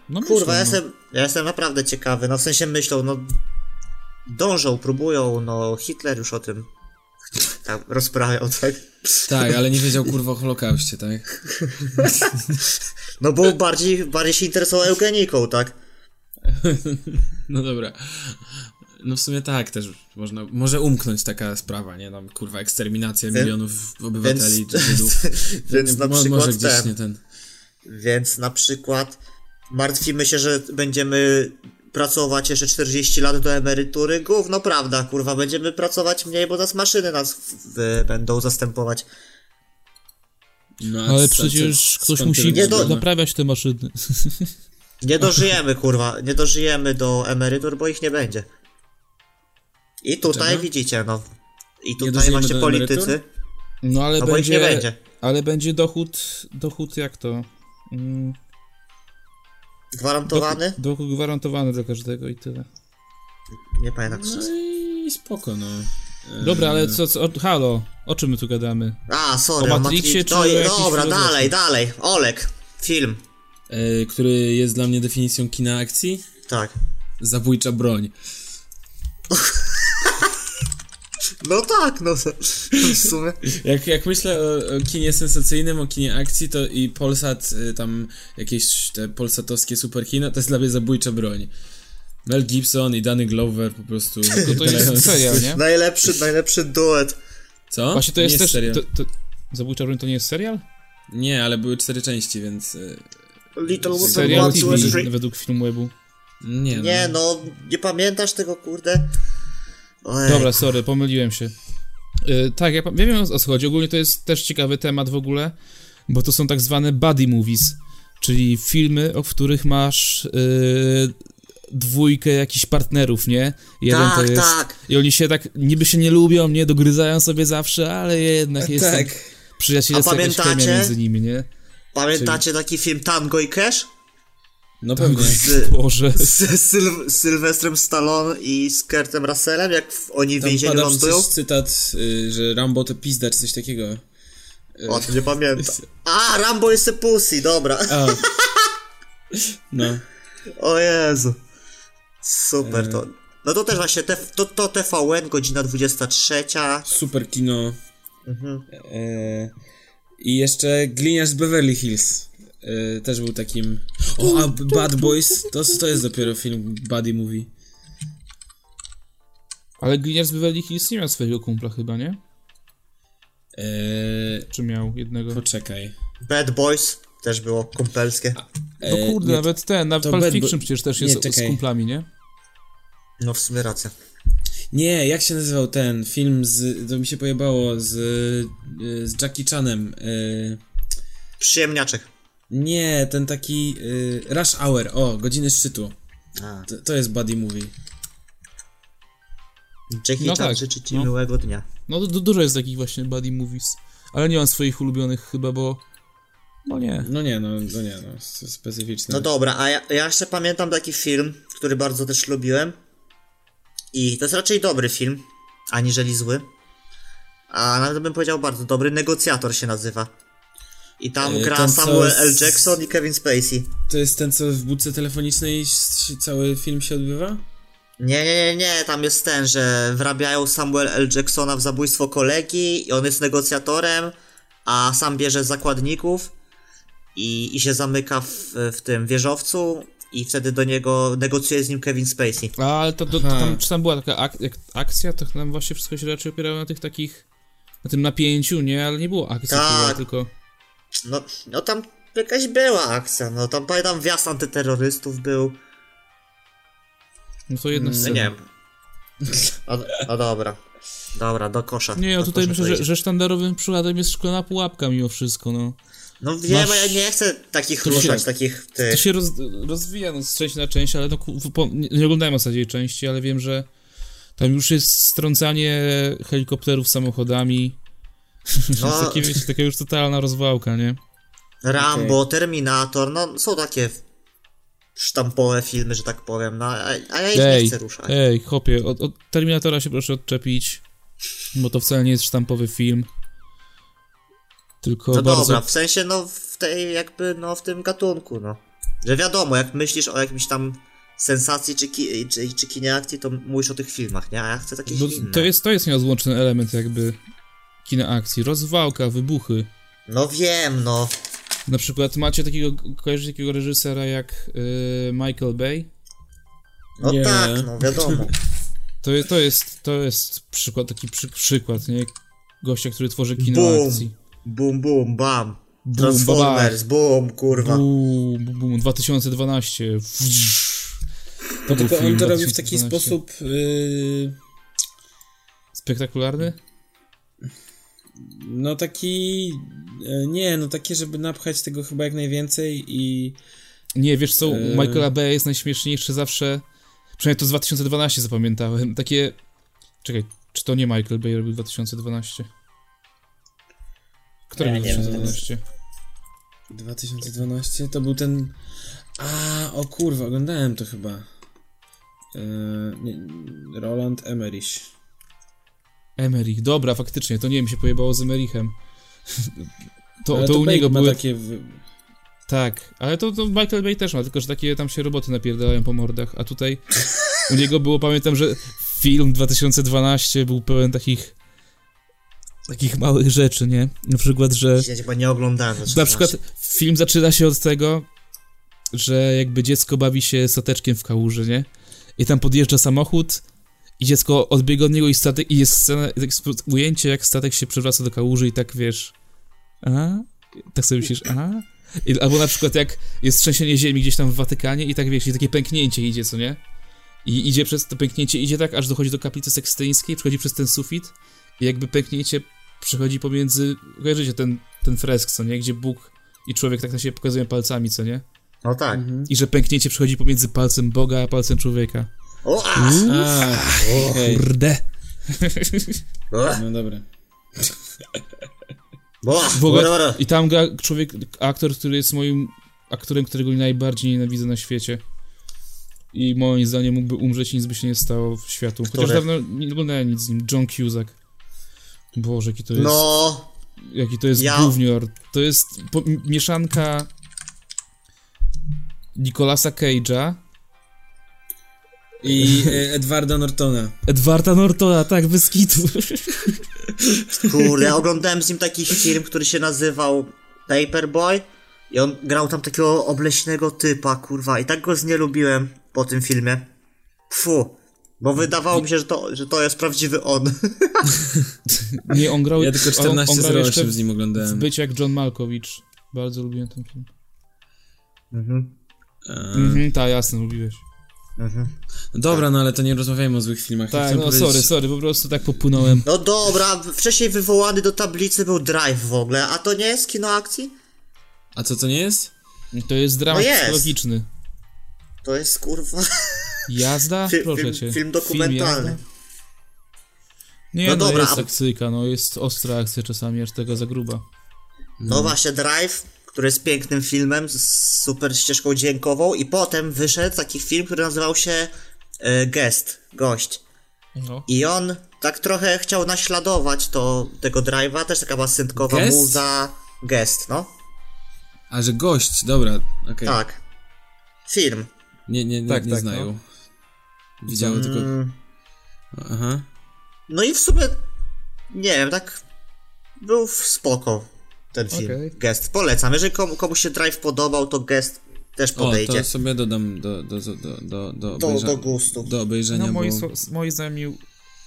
No, Kurwa, ja, myślę, no. jestem, ja jestem naprawdę ciekawy, no w sensie myślą, no dążą, próbują, no Hitler już o tym tam rozprawiał, tak? tak, ale nie wiedział kurwa o Holokauście, tak? No bo Tak. bardziej, bardziej się interesował eugeniką, tak? No dobra. No w sumie tak też można, może umknąć taka sprawa, nie? Tam kurwa eksterminacja milionów obywateli więc- Żydów. Więc na Mo- przykład może gdzieś ten, nie ten. Więc na przykład martwimy się, że będziemy pracować jeszcze 40 lat do emerytury. Gówno prawda, kurwa, będziemy pracować mniej, bo nas maszyny nas w, w, będą zastępować. No, a Ale s- przecież s- ktoś skąd musi tyle Nie, no- do- wiadomo? naprawiać te maszyny. Nie dożyjemy, kurwa, nie dożyjemy do emerytur, bo ich nie będzie. I tutaj Dlaczego? widzicie, no. I tutaj dożyjemy właśnie do politycy, emerytur? No ale no bo ich będzie, nie będzie. Ale będzie dochód, dochód jak to? Mm, Gwarantowany? Dochód, dochód gwarantowany dla każdego i tyle. Nie pamiętam co to jest. No i spoko, no. E, Dobra, ale co, co o, halo, o czym my tu gadamy? A, O sorry, o Matrixie Matrix. czy No, o jakiejś dobra, filozofii? dalej, dalej. Olek, film. E, który jest dla mnie definicją kina akcji? Tak. Zabójcza broń. No tak, no w sumie. Jak, jak myślę o, o kinie sensacyjnym, o kinie akcji, to i Polsat, y, tam jakieś te polsatowskie superkino, to jest dla mnie zabójcza broń. Mel Gibson i Danny Glover po prostu. To, to jest serial, nie? Najlepszy, najlepszy duet. Co? Właśnie to jest nie też... serial. To, to, Zabójcza broń to nie jest serial? Nie, ale były cztery części, więc. y, Little Woman, Serial One, Two, and TV Three. według filmu. Nie, Nie no. no, nie pamiętasz tego, kurde? Ojej. Dobra, sorry, pomyliłem się. Y, tak, ja, pa- ja wiem o co chodzi. Ogólnie to jest też ciekawy temat w ogóle, bo to są tak zwane buddy movies, czyli filmy, o których masz y, dwójkę jakichś partnerów, nie? Jeden to tak, jest... tak. I oni się tak niby się nie lubią, nie? Dogryzają sobie zawsze, ale jednak jest tak. przyjaciele A jakaś chemia pamiętacie? między nimi, nie? Pamiętacie taki film Tango i Cash? No pewnie. Z, Boże. z Syl Sylwestrem Stallone i z Kurtem Russellem, jak w- oni w Tam więzieniu padasz lądują? coś cytat, y, że Rambo to pizda, czy coś takiego. O, to nie pamiętam. A, Rambo jest a pussy, dobra. A. No. O Jezu. Super to. No to też właśnie, te, to, to TVN, godzina 23. Mhm. Super kino. E, I jeszcze Gliniarz z Beverly Hills. Y, też był takim. O, a B- Bad Boys? To, to jest dopiero film Buddy Movie. Ale gliniarz z Beverly Hills nie miał swojego kumpla chyba, nie? Eee, Czy miał jednego? poczekaj. Bad Boys też było kumpelskie. No Eee, kurde, nie, nawet ten, nawet to Pulp Bad Bo- Fiction przecież też nie, jest z czekaj. kumplami, nie? No w sumie racja. nie, jak się nazywał ten film z. To mi się pojebało z. y, z Jackie Chanem. y, Przyjemniaczek. nie, ten taki. y, Rush Hour. O, godziny szczytu. A. To, to jest Buddy Movie. Jackie No Chan tak, życzy ci no. miłego dnia. No du- dużo jest takich właśnie buddy movies. Ale nie mam swoich ulubionych chyba, bo... Bo nie. No nie, no, no nie, no. s- Specyficzne. No dobra, a ja, ja jeszcze pamiętam taki film, który bardzo też lubiłem. I to jest raczej dobry film, aniżeli zły. A nawet bym powiedział bardzo dobry, Negocjator się nazywa. I tam E, Yy, gra ten, co Samuel z- L. Jackson i Kevin Spacey. To jest ten, co w budce telefonicznej s- się- cały film się odbywa? Nie, nie, nie, nie, tam jest ten, że wrabiają Samuel L. Jacksona w zabójstwo kolegi i on jest negocjatorem, a sam bierze zakładników i, i się zamyka w, w tym wieżowcu i wtedy do niego negocjuje z nim Kevin Spacey. A, ale to, to, to Aha. tam, czy tam była taka ak- jak akcja, to tam właśnie wszystko się raczej opierało na tych takich... Na tym napięciu, nie? Ale nie było akcji Tak. chyba, tylko... No, no tam jakaś była akcja, no tam pamiętam wjazd antyterrorystów był. No to jedna Mm, z No nie wiem. No, no dobra. Dobra, do kosza. Nie, no do tutaj kosza myślę, to że, idzie. że sztandarowym przykładem jest szklana pułapka mimo wszystko, no. No wiem, masz- ja nie chcę takich się- ruszać, takich... Ty... To się roz, rozwija no, z części na część, ale no, ku- po, nie, nie oglądałem ostatniej części, ale wiem, że tam już jest strącanie helikopterów samochodami. No. No. Takie, wiecie, taka już totalna rozwałka, nie? Rambo, Terminator, no są takie sztampowe filmy, że tak powiem, no a, a ja ich nie chcę ruszać. ej, chopie, od, od Terminatora się proszę odczepić, bo to wcale nie jest sztampowy film. Tylko no bardzo... dobra, w sensie no w tej jakby, no w tym gatunku, no. Że wiadomo, jak myślisz o jakimś tam sensacji czy, ki, czy, czy kinie akcji, to mówisz o tych filmach, nie? A ja chcę takich No, innych. to, jest, to jest nieodłączny element jakby kina akcji. Rozwałka, wybuchy. No wiem, no. Na przykład macie takiego, kojarzycie takiego reżysera jak y, Michael Bay? No Nie. tak, no wiadomo. To, je- to jest, to jest przykład, taki przy, przykład, nie? Gościa, który tworzy kino Boom. akcji. Bum, bum, bam. Boom, Transformers, bum, kurwa. Boom, boom, boom, 2012. To był Tylko on film to robi w taki 2012. sposób. y, Spektakularny? No taki. y, Nie, no takie, żeby napchać tego chyba jak najwięcej i. Nie, wiesz co, u Eee. Michaela Bay jest najśmieszniejsze zawsze, przynajmniej to z 2012 zapamiętałem, takie... Czekaj, czy to nie Michael Bay robił 2012? Który Ja robił nie wiem. 2012? 2012 to był ten. A, o kurwa, oglądałem to chyba. Y, nie, Roland Emmerich. Emerich, dobra, faktycznie, to nie wiem, się pojebało z Emerichem. To, Ale to, u Blake niego ma były... takie. w- Tak, ale to, to Michael Bay też ma, tylko że takie tam się roboty napierdalają po mordach, a tutaj u niego było, pamiętam, że film 2012 był pełen takich takich małych rzeczy, nie? Na przykład, że Ja chyba nie oglądałem. znaczy, na przykład film zaczyna się od tego, że jakby dziecko bawi się stateczkiem w kałuży, nie? I tam podjeżdża samochód i dziecko odbiega od niego i statek i jest scena, tak sp- ujęcie jak statek się przewraca do kałuży i tak wiesz. A? Tak sobie myślisz, a? I, albo na przykład jak jest trzęsienie ziemi gdzieś tam w Watykanie i tak wiesz, i takie pęknięcie idzie, co nie? I idzie przez to pęknięcie, idzie tak, aż dochodzi do kaplicy sekstyńskiej, przechodzi przez ten sufit i jakby pęknięcie przechodzi pomiędzy, kojarzycie ten, ten fresk, co nie? Gdzie Bóg i człowiek tak na siebie pokazują palcami, co nie? No tak. I że pęknięcie przechodzi pomiędzy palcem Boga a palcem człowieka. O, a, Mhm. A, okej. Brde! o, No dobra. o, W ogóle- o, o, o. I tam gra człowiek, aktor, który jest moim aktorem, którego najbardziej nienawidzę na świecie. I moim zdaniem mógłby umrzeć i nic by się nie stało w światu. Chociaż Który? dawno nie oglądałem nic z nim. John Cusack. Boże, jaki to jest... No, Jaki to jest Ja- gównior. To jest po, m- mieszanka Nicolasa Cage'a, I y, Edwarda Nortona. Edwarda Nortona, tak, bez kitu. Kurde, ja oglądałem z nim taki film, który się nazywał Paperboy i on grał tam takiego obleśnego typa, kurwa, i tak go znielubiłem po tym filmie. Pfu, bo wydawało mi się, że to, że to jest prawdziwy on. Nie, on grał, Ja tylko on- on, 14 grał jeszcze z nim w oglądałem. być jak John Malkowicz. Bardzo lubiłem ten film. A, Mhm, tak, jasne, lubiłeś. Dobra, no ale to nie rozmawiajmy o złych filmach. Ja Tak, chciałem no powiedzieć- sorry, sorry, po prostu tak popłynąłem. No dobra, wcześniej wywołany do tablicy był Drive w ogóle, a to nie jest kino akcji? A co to nie jest? To jest dramat No jest. psychologiczny. To jest kurwa No Jazda? fi- Proszę cię. film, film Film dokumentalny. jazda? nie, No no, dobra, jest a- akcyjka, no jest ostra akcja czasami, aż tego za gruba. No właśnie, Drive, który jest pięknym filmem z super ścieżką dźwiękową i potem wyszedł taki film, który nazywał się e, Guest, Gość. No. I on tak trochę chciał naśladować to, tego Drive'a, też taka była syntkowa Guest? muza. Guest, no. A że gość, dobra, okej. Tak. Film. Nie, nie, nie, Tak, nie tak, znają. Widziały tylko... Mm. Aha. No i w sumie, nie wiem, tak był w spoko ten film. Okej. Guest. Polecam. Jeżeli komu, komuś się Drive podobał, to Guest też O, podejdzie. to sobie dodam do, do, do, do, do, do, Do- obejrza- do gustów. Do obejrzenia, No, moi, bo... sła- moi znajomi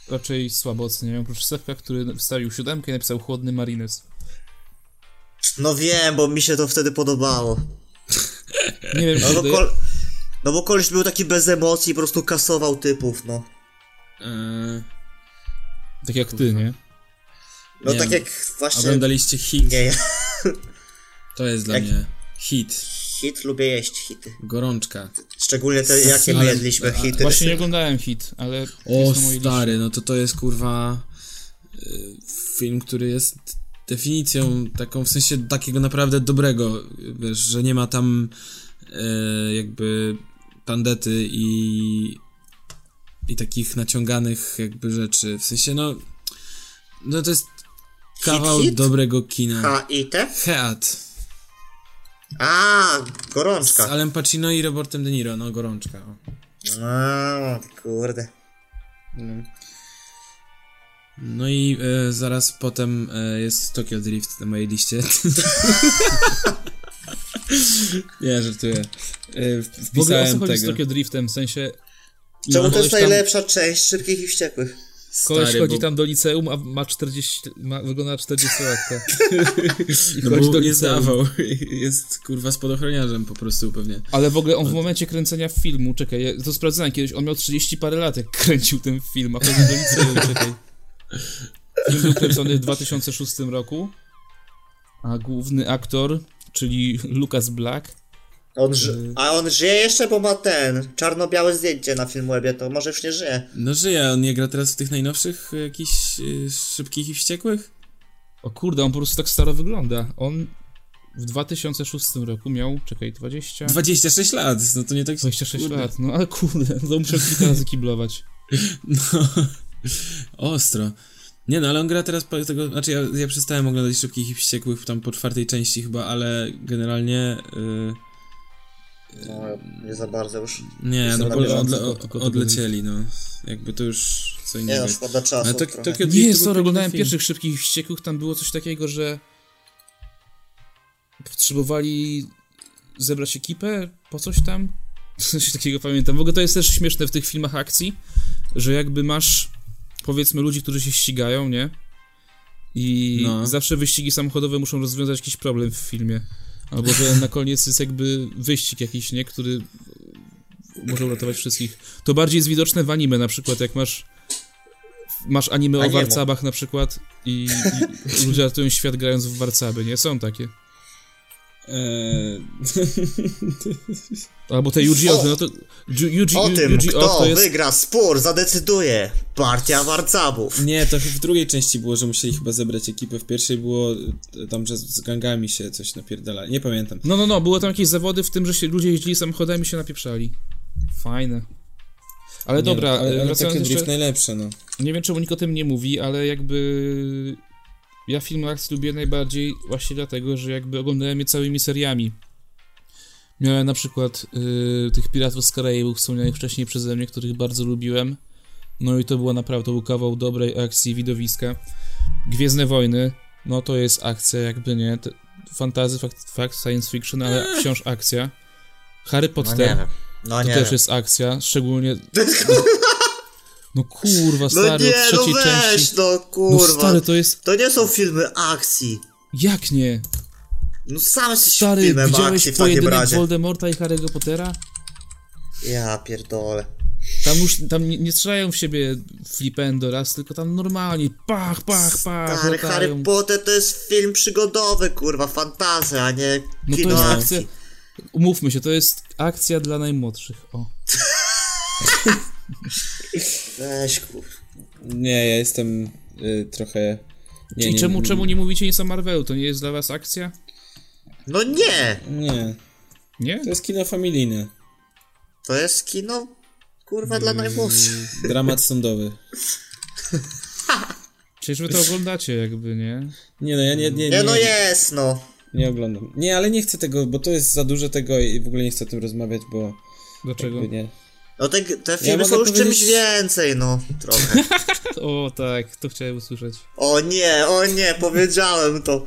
raczej słabo oceniają, oprócz Sewka, który wstawił siódemkę i napisał chłodny marines. No wiem, bo mi się to wtedy podobało. Nie wiem, No kurde, bo, kol... no bo koleś był taki bez emocji, po prostu kasował typów, no. Eee, tak jak ty, nie? No Nie tak wiem. jak właśnie... oglądaliście hit. Nie, ja To jest dla Jak- mnie hit. hit lubię jeść, hity. Gorączka. Szczególnie te, jakie my Ale- jedliśmy hity. Właśnie nie oglądałem hit, ale jest O, na mojej liście. stary, no to to jest kurwa y, film, który jest definicją taką, w sensie takiego naprawdę dobrego, wiesz, że nie ma tam y, jakby tandety i i takich naciąganych jakby rzeczy, w sensie no no to jest kawał hit? dobrego kina. A i te? Heat A, z gorączka. Alem Pacino i Robertem De Niro, no gorączka. o. A, kurde. No i e, zaraz potem e, jest Tokyo Drift na mojej liście. Nie, żartuję. E, w- W ogóle o co wpisałem chodzi z tego. Tokio Driftem, w sensie Czemu to koleś jest No, tam- najlepsza część szybkich i wściekłych? koleś Stary, chodzi bo- tam do liceum, a ma 40, ma, wygląda na 40 latka. I No chodzi bo do nie liceum. zdawał. Jest kurwa spadochroniarzem po prostu pewnie. Ale w ogóle on w momencie kręcenia filmu, czekaj, ja to sprawdzałem kiedyś, on miał 30 parę lat, jak kręcił ten film, a chodził do liceum, czekaj. Film był kręcony w 2006 roku, a główny aktor, czyli Lucas Black, On Mm. ży... A on żyje jeszcze, bo ma ten czarno-białe zdjęcie na Filmwebie, to może już nie żyje. No żyje, on nie gra teraz w tych najnowszych e, jakichś e, szybkich i wściekłych? o kurde, on po prostu tak staro wygląda. On w 2006 roku miał, czekaj, 20... 26 lat, no to nie tak... 26 kurde. lat, no ale kurde, to muszę kilka razy kiblować. No, ostro. Nie no, ale on gra teraz po tego, znaczy ja, ja przestałem oglądać Szybkich i Wściekłych tam po czwartej części chyba, ale generalnie y, No, nie za bardzo już. nie, Jestem no na bo bieżąco, odle, tylko- tylko tego odlecieli, no. Jakby to już co Nie innego. no, szkoda czasu ale to, trochę. Tokio Drift to Nie, był sorry, piękny oglądałem film. pierwszych Szybkich i Wściekłych, tam było coś takiego, że potrzebowali zebrać ekipę po coś tam. Coś takiego pamiętam. W ogóle to jest też śmieszne w tych filmach akcji, że jakby masz powiedzmy ludzi, którzy się ścigają, nie? I No. zawsze wyścigi samochodowe muszą rozwiązać jakiś problem w filmie. Albo że na koniec jest jakby wyścig jakiś, nie? Który może uratować wszystkich. To bardziej jest widoczne w anime, na przykład jak masz masz anime o Anime. warcabach na przykład i, i ludzie ratują świat grając w warcaby, nie? Są takie. Eee, Albo te Yuji O! no to Ju- Yuji, O Ju- tym, Yuji kto to jest... wygra spór, zadecyduje partia warcabów. nie, to w drugiej części było, że musieli chyba zebrać ekipę, w pierwszej było y, tam, że z- z gangami się coś napierdala, nie pamiętam. No, no, no, były tam jakieś zawody w tym, że się ludzie jeździli samochodami i się napieprzali. Fajne. Ale dobra, e, nie, no, ale, ale Tokio wracając Drift jeszcze... najlepsze, no. Nie wiem, czemu nikt o tym nie mówi, ale jakby... Ja filmy akcji lubię najbardziej właśnie dlatego, że jakby oglądałem je całymi seriami. Miałem na przykład y, tych Piratów z Karaibów wspomnianych wcześniej przeze mnie, których bardzo lubiłem. No i to była naprawdę, to był kawał dobrej akcji widowiska. Gwiezdne Wojny, no to jest akcja, jakby nie. te- Fantasy, fakt, fakt, science fiction, ale wciąż akcja. Harry No Potter nie wiem. No to nie też wiem. jest akcja, szczególnie. No, kurwa, No stary, nie, od no trzeciej weź, części. no No kurwa. stary, to jest. To nie są filmy akcji. Jak nie? No sam jesteś Stary, filmem akcji widziałeś w takim pojedynek razie. Voldemorta i Harry'ego Pottera? Ja pierdolę. Tam już tam nie, nie strzelają w siebie flipendo raz, tylko tam normalnie pach, pach, pach, Stary Tak, Harry latają. No Potter to jest film przygodowy, kurwa, fantazy, a nie No to kino jest akcja. akcji. Umówmy się, to jest akcja dla najmłodszych. O. Weź kurwa. Nie, ja jestem y, trochę... Nie, I nie, czemu, czemu nie mówicie nic o Marvelu? To nie jest dla was akcja? No nie! Nie, Nie? to jest kino familijne. To jest kino, kurwa, dla najmłodszych. Dramat sądowy. Przecież wy to oglądacie jakby, nie? Nie no, ja nie, nie, Nie no nie, jest, no. nie oglądam. Nie, ale nie chcę tego, bo to jest za dużo tego i w ogóle nie chcę o tym rozmawiać, bo... Dlaczego? jakby Nie. No te, te filmy mogę są już czymś powiedzieć- więcej, no. Trochę. O tak, to chciałem usłyszeć. O nie, o nie, powiedziałem to.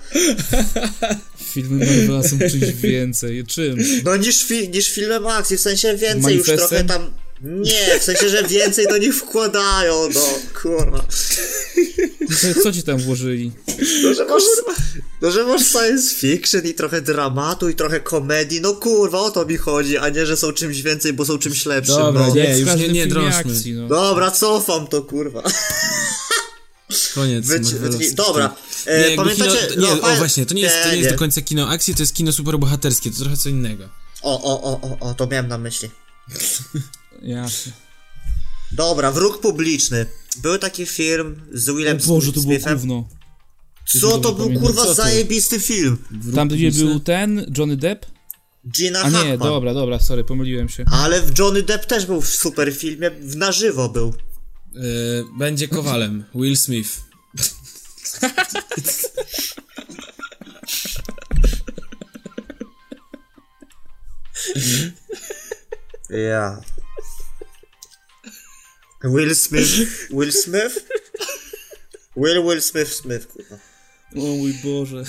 Filmy Marvela są czymś więcej. Czym? No niż, fi- niż filmem akcji, w sensie więcej już Manifestem? trochę tam... Nie, w sensie, że więcej do nich wkładają, no, kurwa. Co, co ci tam włożyli? No, że masz, no, że masz science fiction i trochę dramatu i trochę komedii, no kurwa, o to mi chodzi, a nie, że są czymś więcej, bo są czymś lepszym, Dobra, no. nie, Jak w już każdym nie- nie filmie drążmy. akcji, no. Dobra, cofam to, kurwa. Koniec. Wyci- wyci- Marvelowskich dobra, Nie, e, jakby pamiętacie... Kino, nie, o pa- E, właśnie, to nie jest, to nie nie. jest do końca kino akcji, to jest kino superbohaterskie, to trochę co innego. O, o, o, o, o, to miałem na myśli. Jasne. Dobra, wróg publiczny. Był taki film z Willem O Boże, to było Smithem. gówno. Co to był pamiętam. kurwa Co to? zajebisty film? Tam gdzie publiczny? był ten, Johnny Depp? Gina A Hackman. nie, tak. dobra, dobra, sorry, pomyliłem się. Ale w Johnny Depp też był w super filmie, w- na żywo był. Yy, będzie kowalem, Will Smith. Ja. Will Smith. Will Smith? Will Will Smith Smith, kurwa. O mój Boże.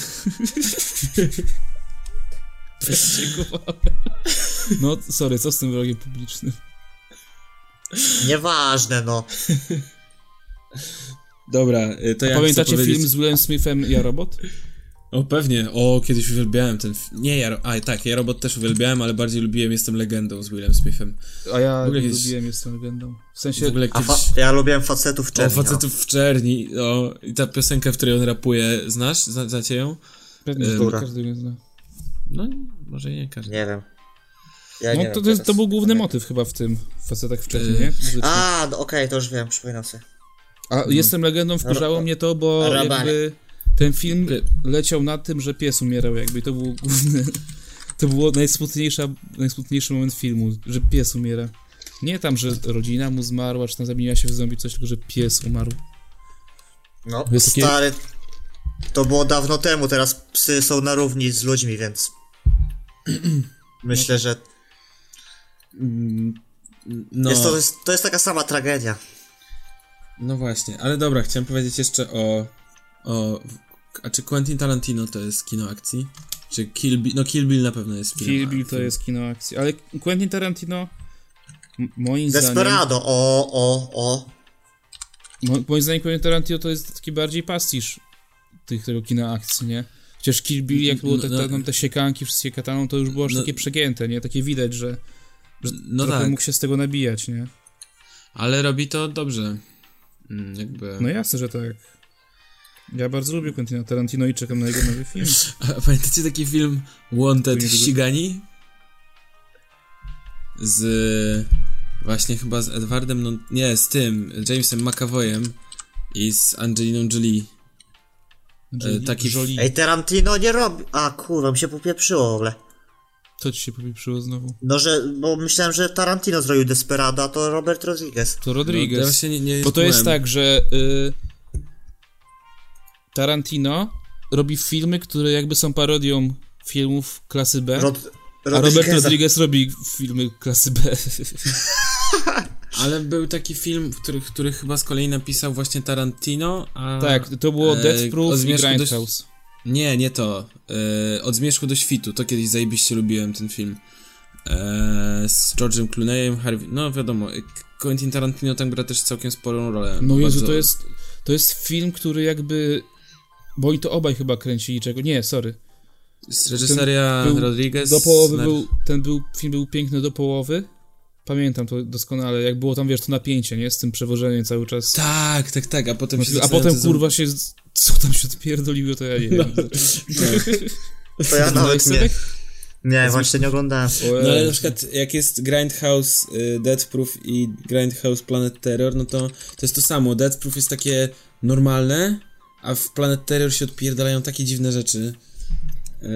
Dziękowałem. No, sorry, co z tym wrogiem publicznym? Nieważne, no. Dobra, y, to ja Pamiętacie chcę powiedzieć... film z Willem Smithem Ja Robot? O, pewnie. O, kiedyś uwielbiałem ten film. Nie, ja... Ro- A, tak, ja robot też uwielbiałem, ale bardziej lubiłem Jestem Legendą z Willem Smithem. A ja W ogóle jest- lubiłem Jestem Legendą. W W sensie, ogóle A kiedyś... fa- ja lubiłem facetów O, czerni. no. facetów w czerni. O, i ta piosenka, w której on rapuje, znasz? Zna, znacie ją? pewnie Em, że Dobra. każdy nie zna. No, może nie każdy. Nie wiem. Ja nie No, to, wiem to, jest, teraz. to był główny motyw chyba w tym facetach wcześniej, Yy. nie? Muzyczny. A, no, okej, to już wiem, przypominam sobie. A Mhm. Jestem Legendą wkurzało mnie to, bo Rabanie. jakby ten film Pie- leciał na tym, że pies umierał jakby i to był główny... To było najsmutniejsza, najsmutniejszy moment filmu, że pies umiera. Nie tam, że rodzina mu zmarła, czy tam zamieniła się w zombie, coś, tylko że pies umarł. No, Jest takie- stary. To było dawno temu, teraz psy są na równi z ludźmi, więc. Myślę, że. No, Jest to, jest, to jest taka sama tragedia. no właśnie, ale dobra, chciałem powiedzieć jeszcze o... o... A czy Quentin Tarantino to jest kino akcji? Czy Kill Bill? No Kill Bill na pewno jest film Kill Bill to jest kino akcji, ale Quentin Tarantino m- moim zdaniem... Desperado, o, o, o. Mo- Moim zdaniem Quentin Tarantino to jest taki bardziej pastisz tych tego kina akcji, nie? Chociaż Kill Bill, jak było te, No, no. te, tam te siekanki wszystkie kataną, to już było aż No. takie przegięte, nie? Takie widać, że No trochę tak, mógł się z tego nabijać, nie? ale robi to dobrze. Mm, Jakby... No jasne, że tak. Ja bardzo lubię Quentina Tarantino i czekam na jego nowy film. A pamiętacie taki film Wanted Nie wiem. Ścigani? Z... Właśnie chyba z Edwardem, no nie, z tym, Jamesem McAvoyem i z Angeliną Jolie. No, Jolie- taki- Znaczy, Jolie. Ej, Tarantino nie robi. A kurwa, mi się popieprzyło w ogóle. To ci się popieprzyło znowu. No, że. Bo myślałem, że Tarantino zrobił Desperado, a to Robert Rodriguez. To No, Rodriguez. teraz się nie, nie Bo to jest skułem. tak, że y, Tarantino robi filmy, które jakby są parodią filmów klasy B. Rod... A Robert Rodrigueza. Rodriguez robi filmy klasy B. Ale był taki film, który, który chyba z kolei napisał właśnie Tarantino, a... Tak, to było e, Death o Proof i zmierzchu dość- Grindhouse. Nie, nie to. E, od Zmierzchu do Świtu. To kiedyś zajebiście lubiłem ten film. E, z George'em Clooneyem, Harvey... No wiadomo, e, Quentin Tarantino tam gra też całkiem sporą rolę. No Jezu, Bardzo- to jest, to jest film, który jakby... Bo oni to obaj chyba kręcili czego... Nie, sorry. Z reżyseria ten był- Rodriguez... Do połowy na- był, ten był, film był piękny do połowy. Pamiętam to doskonale, jak było tam, wiesz, to napięcie, nie? Z tym przewożeniem cały czas. Znaczy, Tak, tak, tak, a potem... się a zastanawiam, potem, co za- kurwa, się... z- Co tam się odpierdoliło, to ja nie wiem. No, Tak. To ja nawet nie. Sebek? Nie, właśnie nie oglądałem. No ale na przykład jak jest Grindhouse, y, Death Proof i Grindhouse Planet Terror, no to to jest to samo. Death Proof jest takie normalne, a w Planet Terror się odpierdalają takie dziwne rzeczy. Eee,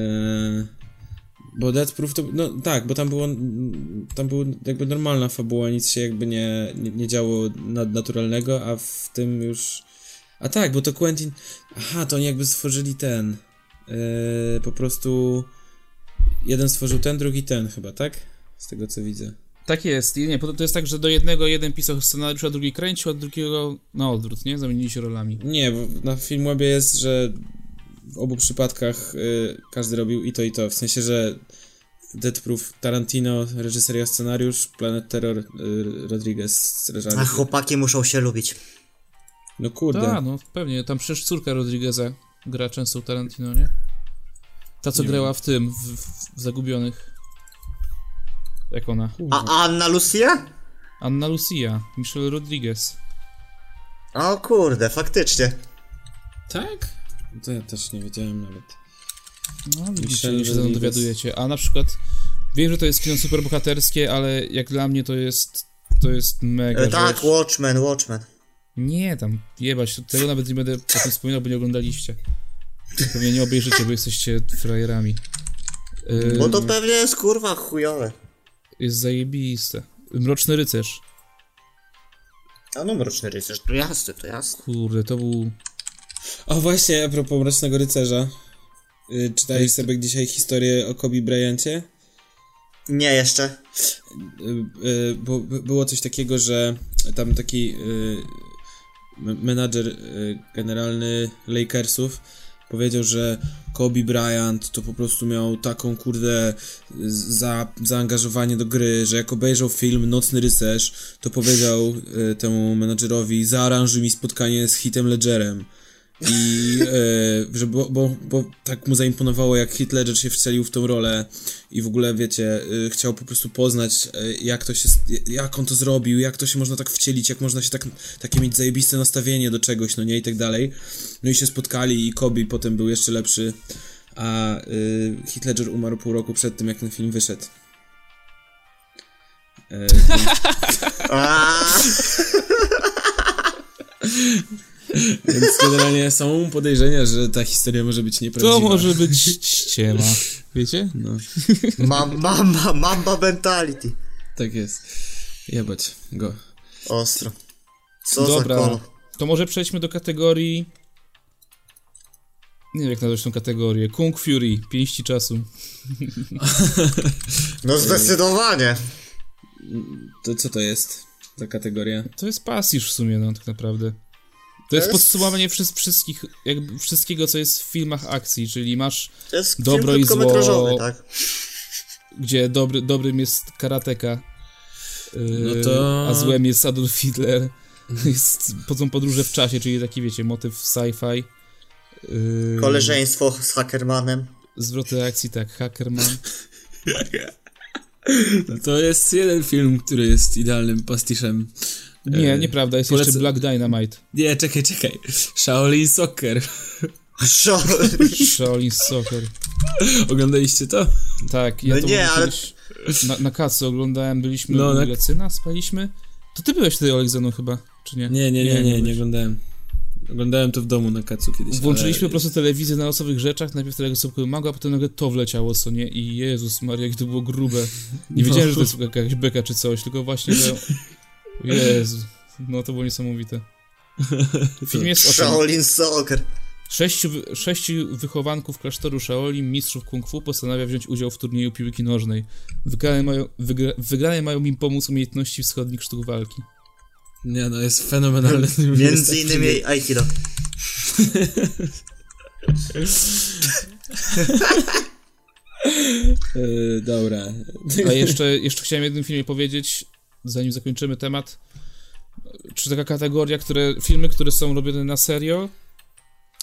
bo Death Proof to, no tak, bo tam było, mm, tam była jakby normalna fabuła, nic się jakby nie, nie, nie działo nadnaturalnego, a w tym już... A tak, bo to Quentin... Aha, to oni jakby stworzyli ten... eee, po prostu... Jeden stworzył ten, drugi ten chyba, tak? Z tego co widzę. Tak jest. I Nie, po- to jest tak, że do jednego jeden pisał scenariusz, a drugi kręcił, a drugiego na odwrót, nie? Zamienili się rolami. Nie, w- na Filmwebie jest, że w obu przypadkach y, każdy robił i to i to. W sensie, że Dead Proof Tarantino, reżyseria scenariusz, Planet Terror y, Rodriguez, A reżyser. chłopaki muszą się lubić. No kurde. Tak, no pewnie. Tam przecież córka Rodrigueza gra często u Tarantino, nie? Ta, co Nie grała w tym, w, w, w Zagubionych. Jak ona? A a Anna Lucia? Anna Lucia, Michelle Rodriguez. O kurde, faktycznie. Tak? To ja też nie wiedziałem nawet. No, widzicie, Michelle nie się tam Rodriguez. dowiadujecie. A na przykład, wiem, że to jest kino superbohaterskie, ale jak dla mnie to jest, to jest mega E, tak, rzecz. Watchmen, Watchmen. Nie, tam jebać, tego nawet nie będę o tym wspominał, bo nie oglądaliście. Pewnie nie obejrzycie, bo jesteście frajerami. Yy, Bo to pewnie jest kurwa chujowe. Jest zajebiste. Mroczny Rycerz. A no mroczny rycerz, to jasne, to jasne. Kurde, to był... O właśnie, a propos Mrocznego Rycerza. Y, czytałeś sobie dzisiaj historię o Kobe Bryancie? Nie jeszcze. y, y, bo by- było coś takiego, że tam taki y, m- menadżer y, generalny Lakersów powiedział, że Kobe Bryant to po prostu miał taką kurde z- za, zaangażowanie do gry, że jak obejrzał film Nocny Rycerz, to powiedział y, temu menadżerowi zaaranżuj mi spotkanie z Hitem Ledgerem. I e, że bo, bo, bo tak mu zaimponowało, jak Hitler się wstrzelił w tą rolę i w ogóle, wiecie, e, chciał po prostu poznać, e, jak to się, jak on to zrobił, jak to się można tak wcielić, jak można się tak, takie mieć zajebiste nastawienie do czegoś, no nie, i tak dalej. No i się spotkali i Kobe potem był jeszcze lepszy, a e, Hitler umarł pół roku przed tym, jak ten film wyszedł. E, Aaaa, więc generalnie są podejrzenia, że ta historia może być nieprawdziwa. To może być ściema. Wiecie? No. mam, mam, mam, mamba mentality. Tak jest. Jebać go. Ostro. Co Dobra. za kolo. To może przejdźmy do kategorii... Nie wiem, jak nazwać tą kategorię. Kung Fury, pięści czasu. No zdecydowanie. To co to jest za kategoria? To jest pastisz w sumie, no, tak naprawdę. To jest podsumowanie wszy- wszystkich, jakby wszystkiego, co jest w filmach akcji, czyli masz To jest Dobro i film krótkometrażowy, zło. tak? gdzie dobry, dobrym jest karateka, yy, No to- a złem jest Adolf Hitler. Jest, chodzą podróże w czasie, czyli taki, wiecie, motyw sci-fi. Yy, Koleżeństwo z Hackermanem. Zwroty akcji, tak, Hackerman. To jest jeden film, który jest idealnym pastiszem. Nie, Yy, nieprawda, jest polecę- jeszcze Black Dynamite. Nie, czekaj, czekaj. Shaolin Soccer. Szo- Shaolin Soccer. Oglądaliście to? Tak, ja No to nie, nie, ale- kiedyś na, na kacu oglądałem, byliśmy No, no, na- na... Lecyna, spaliśmy. To ty byłeś wtedy Oleksaną chyba, czy nie? Nie, nie, nie, nie, nie, byłeś. oglądałem. Oglądałem to w domu na kacu kiedyś. Włączyliśmy ale- po prostu telewizję na losowych rzeczach, najpierw tego sobie mago, a potem nagle to wleciało, co nie? I Jezus Maria, jak to było grube. Nie No. wiedziałem, że to jest jakaś beka czy coś, tylko właśnie, że... Jezu, no to było niesamowite. Film jest o tym. Shaolin Soccer. Sześciu, wy- sześciu wychowanków klasztoru Shaolin, mistrzów kung fu, postanawia wziąć udział w turnieju piłki nożnej. Wygrane mają, wygra, wygrane mają im pomóc umiejętności wschodnich sztuk walki. Nie no, jest fenomenalny. Jest Między taki- innymi Aikido. Yy, dobra. A jeszcze, jeszcze chciałem jednym filmie powiedzieć, zanim zakończymy temat. Czy taka kategoria, które, filmy, które są robione na serio,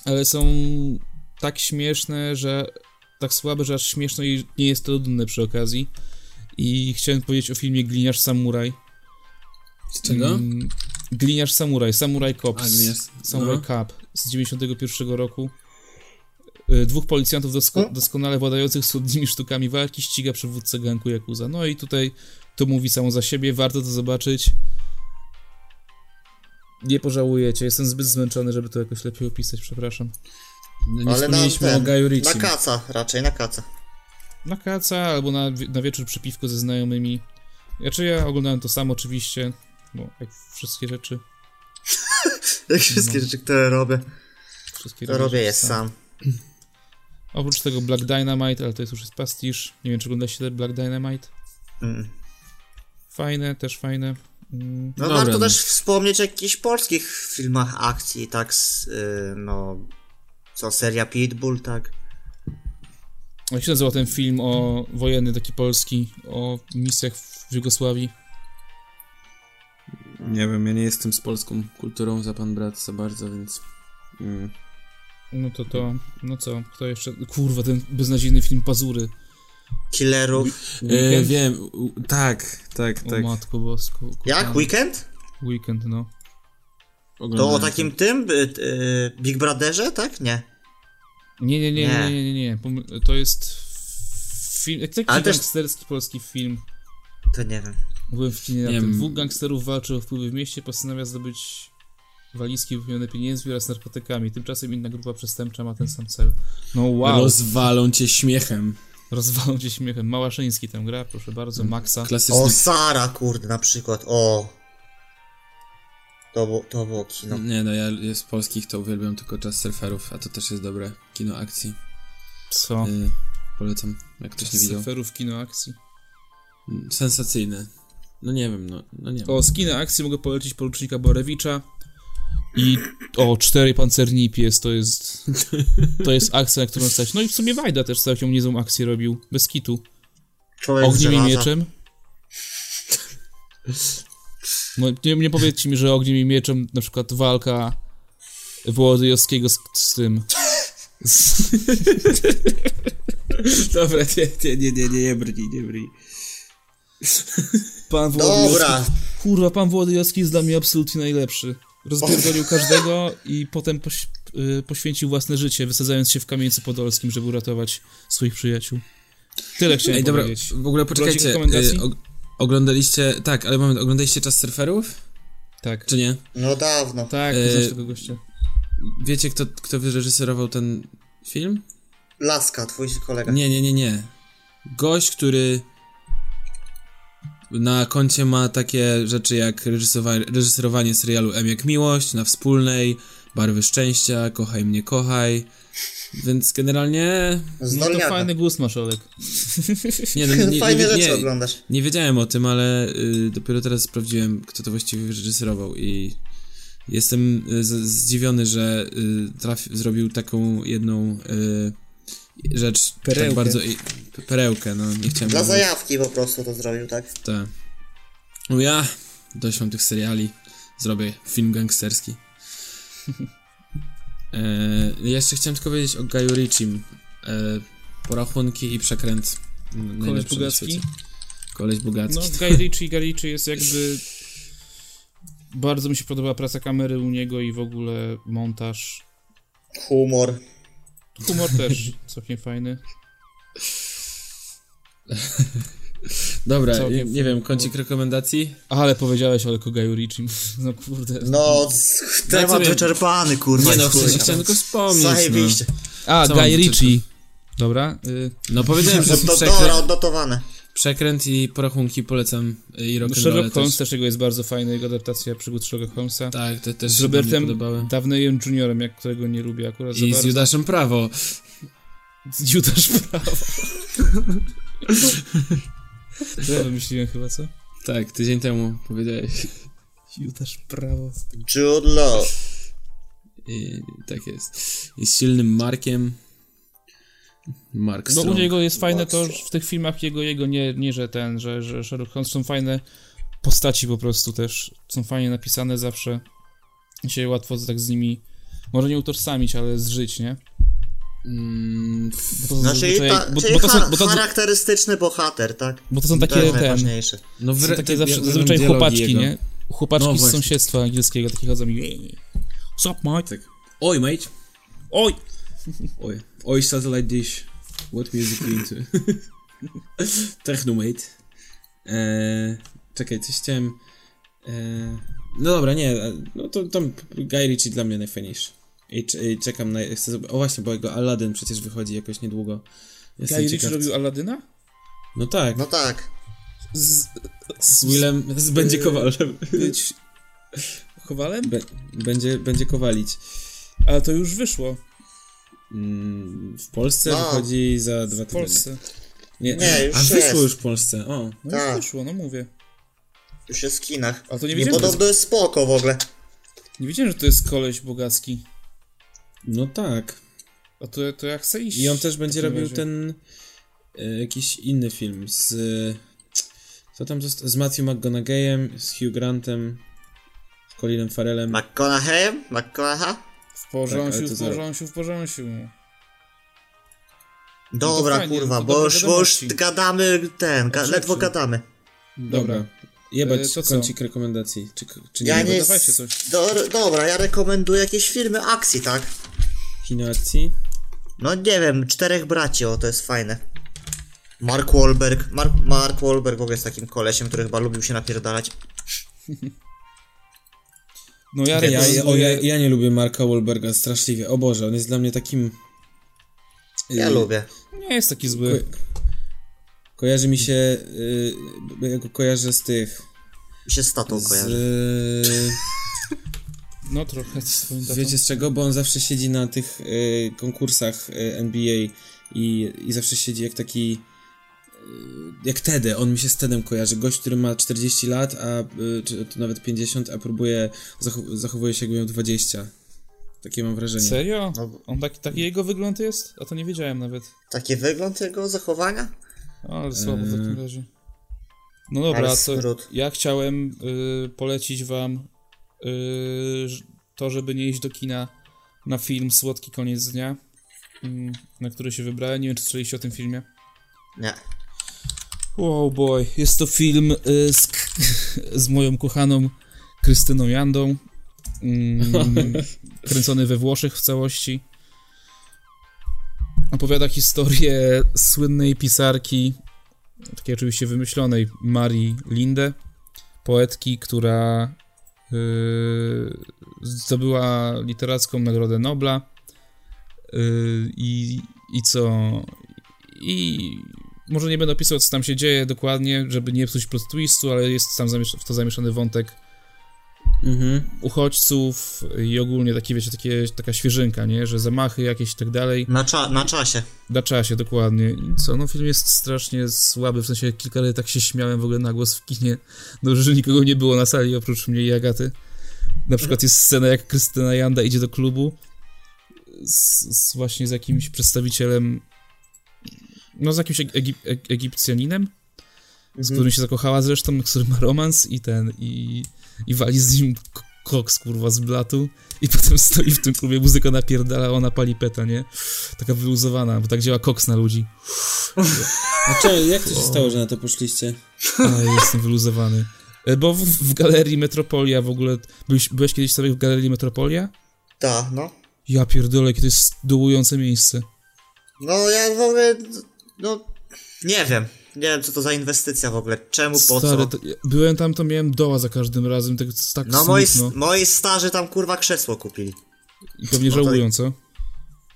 ale są tak śmieszne, że tak słabe, że aż śmieszno i nie jest to nudne przy okazji. I chciałem powiedzieć o filmie Gliniarz Samuraj. Czego? Mm, Gliniarz Samuraj, Samuraj Cops. A, Gliniarz- Samuraj no. Cup z 91 roku. Y, Dwóch policjantów dosko- doskonale władających wschodnimi sztukami walki ściga przywódcę ganku Yakuza. No i tutaj to mówi samo za siebie, warto to zobaczyć. Nie pożałujecie, jestem zbyt zmęczony, żeby to jakoś lepiej opisać, przepraszam. No, nie Ale na wspomnieliśmy o ten, Gaju na Ritchie. kaca, raczej na kaca. Na kaca albo na, wie- na wieczór przy piwku ze znajomymi. Ja czy ja oglądałem to sam oczywiście, bo jak wszystkie rzeczy, Jak wszystkie rzeczy, które robię, wszystkie to robię je sam. Oprócz tego Black Dynamite, ale to jest już jest pastisz. Nie wiem, czy oglądaliście Black Dynamite. Mm. Fajne, też fajne. Mm, No Dobra, warto no. też wspomnieć o jakichś polskich filmach akcji, tak, z, y, no, co seria Pitbull, tak. Jak się nazywał ten film o wojenny taki polski, o misjach w Jugosławii? Nie wiem, ja nie jestem z polską kulturą za pan brat za bardzo, więc... Mm. No to to, no co, kto jeszcze? Kurwa, ten beznadziejny film Pazury. Killerów. E, Weekend? wiem, u- tak, tak, o tak. matko bosko. Kurwa. Jak? Weekend? Weekend, no. To o Oglądałem takim tym, y, y, Big Brotherze, tak? Nie. Nie, nie, nie, Nie. nie, nie, nie, nie. Pom- To jest film, taki Ale też- gangsterski polski film. To nie wiem. Byłem w kinie na Nie tym. wiem. Dwóch gangsterów walczy o wpływy w mieście, postanawia zdobyć walizki wypełnione pieniędzmi oraz narkotykami. Tymczasem inna grupa przestępcza ma ten sam cel. No wow, Rozwalą cię śmiechem. rozwalą cię śmiechem. Małaszyński tam gra, proszę Mm. bardzo, Maxa. Klasyczny O, Sara, kurde, na przykład, o. To, bu- to było kino. Nie no, ja z polskich to uwielbiam tylko czas surferów, a to też jest dobre kino akcji. Co? Y, polecam, jak ktoś nie widział. Surferów kino akcji. Mm, Sensacyjne. No nie wiem, no, no nie wiem. O, z kina akcji mogę polecić porucznika Borewicza. I o, cztery pancerni i pies to jest. To jest akcja, na którą stać. No i w sumie Wajda też całkiem niezłą akcję robił. Bez kitu. Człowiek z Ogniem i żelaza. mieczem? No, nie, nie powiedzcie mi, że ogniem i mieczem na przykład walka Wołodyjowskiego z, z tym. Z, Dobra, nie, nie, nie, nie, nie, nie brnij, nie brnij. pan No, Dobra, Kurwa, pan Wołodyjowski jest dla mnie absolutnie najlepszy. Rozpierdolił każdego i potem poś, y, poświęcił własne życie, wysadzając się w kamieńcu podolskim, żeby uratować swoich przyjaciół. Tyle chciałem Ej, dobra, powiedzieć. w ogóle Wrócik poczekajcie. rekomendacji? y, og- oglądaliście, tak, ale moment, oglądaliście czas surferów? Tak. Czy nie? no dawno. Tak, E, znasz tego gościa. Wiecie, kto, kto wyreżyserował ten film? Laska, twój kolega. Nie, nie, nie, nie. Gość, który na koncie ma takie rzeczy jak reżyserowanie, reżyserowanie serialu M jak Miłość, na wspólnej, Barwy Szczęścia, Kochaj mnie, kochaj. Więc generalnie. Z No to Dolniaka. fajny głos masz, Olek. Nie, no, nie, nie, Fajne nie, rzeczy nie, oglądasz. nie wiedziałem o tym, ale y, dopiero teraz sprawdziłem, kto to właściwie reżyserował i jestem y, z, zdziwiony, że y, traf, zrobił taką jedną y, rzecz Perełkę. tak bardzo. I, perełkę, no nie chciałem Dla mówić. zajawki po prostu to zrobił, tak? Tak. No ja dość mam tych seriali. Zrobię film gangsterski. e, jeszcze chciałem tylko powiedzieć o Gaju Richim. E, porachunki i przekręt. N- Koleś najlepszy na Bugacki. świecie. Koleś Bugacki. No, Guy Ritchie, Guy Ritchie jest jakby... Bardzo mi się podoba praca kamery u niego i w ogóle montaż. Humor. Humor też całkiem fajny. Dobra, Całkiem nie, nie fajny wiem, kącik rekomendacji? Ale powiedziałeś, ale o Guy Ritchie. No kurde. No, c- temat wiem. wyczerpany, kurwa. Nie no, w chuj. sensie chciałem tylko wspomnieć. no. Zajebiście. A, co Guy mam- Ritchie. Dobra. Y, No, no powiedziałem, że No to przekręt... dobra, odnotowane. Przekręt i porachunki polecam y, i No, rock and Sherlock też. Holmes też jego jest bardzo fajna, jego adaptacja przygód Sherlock Holmesa. Tak, te też z się do mnie Robertem podobały. Downeyem Juniorem, jak którego nie lubię akurat za I z bardzo. Judaszem Prawo. Z Judasz Prawo. To ja wymyśliłem chyba, co? Tak, tydzień temu powiedziałeś. Judasz Prawo. Jude Law. I, tak jest. I z silnym Markiem. Mark No u Strong. niego jest fajne to, że w tych filmach jego, jego nie, nie, że ten, że, że Sherlock Holmes są fajne postaci po prostu też, są fajnie napisane zawsze i się łatwo tak z nimi, może nie utożsamić, ale zżyć, nie? Mm, f- Bo to, Znaczy, zazwyczaj- ta, bo, czyli bo, to są, cha- bo, to, charakterystyczny bohater, tak? bo to są to takie jest ten, najważniejsze. no są wre- takie ja zawsze, uwielbiam zazwyczaj dialogi chłopaczki, jego. nie? Chłopaczki No z właśnie. sąsiedztwa angielskiego, takie chodzą i... Sup, mate? Tak. Oj, mate. Oj! Oj. Oj, satellite dish. What music you into? Techno, mate. Eee, czekaj, coś chciałem... Eee, no dobra, nie. a- No to tam Guy Ritchie dla mnie najfajniejszy. I, c- i czekam na... Chcę, zob- o właśnie, bo jego Aladdin przecież wychodzi jakoś niedługo. Jestem Guy Ritchie ciekaw. robił Aladyna? No tak, No tak. Z, z Willem... Z będzie kowalem. być Kowalem? Y, Be- będzie, będzie kowalić. Ale to już wyszło Mm, w Polsce No. wychodzi za dwa w tygodnie. Polsce. Nie, już A wyszło jest. już w Polsce. O. No Tak. już wyszło, no mówię. Już jest w kinach. Ale to nie Nie wiedziałem, podobno jest spoko w ogóle. Nie wiedziałem, że to jest koleś bogacki. No tak. A to, to ja chcę iść. I on też będzie W takim robił razie. ten e, jakiś inny film z e, co tam zosta- z Matthew McGonagayem, z Hugh Grantem, z Colinem Farrellem. McConaughey'em? McConaha? W porząsiu, Tak, ale to w zaraz. porząsiu, w porząsiu. Dobra, fajnie, kurwa, No to bo dobre już, bo już wiadomości. gadamy ten, ga, rzeczy. ledwo gadamy. Dobra. Dobra. E, Jebać to co? kącik rekomendacji. Czy, czy nie? Ja jebać? nie... no dawajcie coś. Do, dobra, ja rekomenduję jakieś filmy akcji, tak? Kino akcji? No nie wiem, Czterech Braci, o to jest fajne. Mark Wahlberg, Mark, Mark Wahlberg w ogóle jest takim kolesiem, który chyba lubił się napierdalać. No ja, Ja, ja, ja, o, rekomenduję- ja, ja nie lubię Marka Wahlberga straszliwie. O Boże, on jest dla mnie takim... Ja e, Mm. lubię. Nie jest taki zły. Kojarzy mi się... y, bo ja go kojarzę z tych... Mi się z tatą Z, y, kojarzy. No trochę z swoim tatą. wiecie z czego? Bo on zawsze siedzi na tych y, konkursach y, NBA i, i zawsze siedzi jak taki... y, Jak Tedy, on mi się z Tedem kojarzy. Gość, który ma 40 lat, a y, czy to nawet 50, a próbuje, zachow- zachowuje się jakby miał 20. Takie mam wrażenie. Serio? No. On taki, taki jego wygląd jest? A to nie wiedziałem nawet. Taki wygląd jego zachowania? O, ale słabo w Eee. takim razie. No dobra, Ale a co, smród. ja chciałem y, polecić wam y, ż- to, żeby nie iść do kina na film Słodki Koniec Dnia, mm, na który się wybrałem. Nie wiem, czy słyszeliście o tym filmie. Nie. Wow, boy. Jest to film y, z, k- z moją kochaną Krystyną Jandą. Mm, kręcony we Włoszech w całości. Opowiada historię słynnej pisarki, takiej oczywiście wymyślonej, Marii Linde, poetki, która y, zdobyła literacką Nagrodę Nobla. Y, I i co? I może nie będę opisał, co tam się dzieje dokładnie, żeby nie psuć plot twistu, ale jest tam zamiesz- w to zamieszany wątek Mhm. uchodźców i ogólnie takie, wiecie, takie, taka świeżynka, nie? Że zamachy jakieś i tak dalej. Na, cza- na czasie. Na czasie, dokładnie. I co, no film jest strasznie słaby, w sensie kilka razy tak się śmiałem w ogóle na głos w kinie. Dobrze, że nikogo nie było na sali oprócz mnie i Agaty. Na przykład jest scena, jak Krystyna Janda idzie do klubu z, z właśnie z jakimś przedstawicielem, no z jakimś Egip, Eg- Egipcjaninem, z którym się zakochała zresztą, z którym ma romans i ten, i, i wali z nim k- koks, kurwa, z blatu i potem stoi w tym klubie, muzyka napierdala, ona pali peta, nie? Taka wyluzowana, bo tak działa koks na ludzi. A czy, jak to się stało, że na to poszliście? Ale jestem wyluzowany. E, Bo w, w galerii Metropolia w ogóle. Byłeś, byłeś kiedyś sobie w galerii Metropolia? Ta, no. Ja pierdolę, jakie to jest dołujące miejsce. No ja w ogóle, no nie wiem, nie wiem co to za inwestycja w ogóle, czemu, po co. Stary, to, ja byłem tam, to miałem doła za każdym razem, tak, tak No moi, smutno. moi starzy tam kurwa krzesło kupili. I pewnie no to- żałują, co?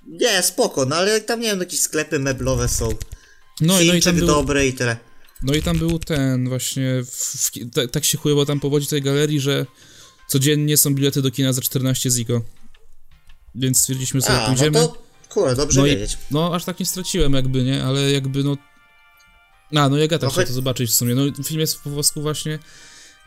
Nie, spoko, no ale tam nie wiem, jakieś sklepy meblowe są, No, i- no i Chińczyk tam było, dobry i tyle. No i tam był ten właśnie, w, w, ki- tak- tak się chujło tam powodzi tej galerii, że codziennie są bilety do kina za 14 zigo. Więc stwierdziliśmy sobie, A, no pójdziemy. to kurde, dobrze No i- wiedzieć. No, aż tak nie straciłem jakby, nie? Ale jakby no... A, no Jagata No no, chciała choć- to zobaczyć w sumie. No film jest po włosku właśnie...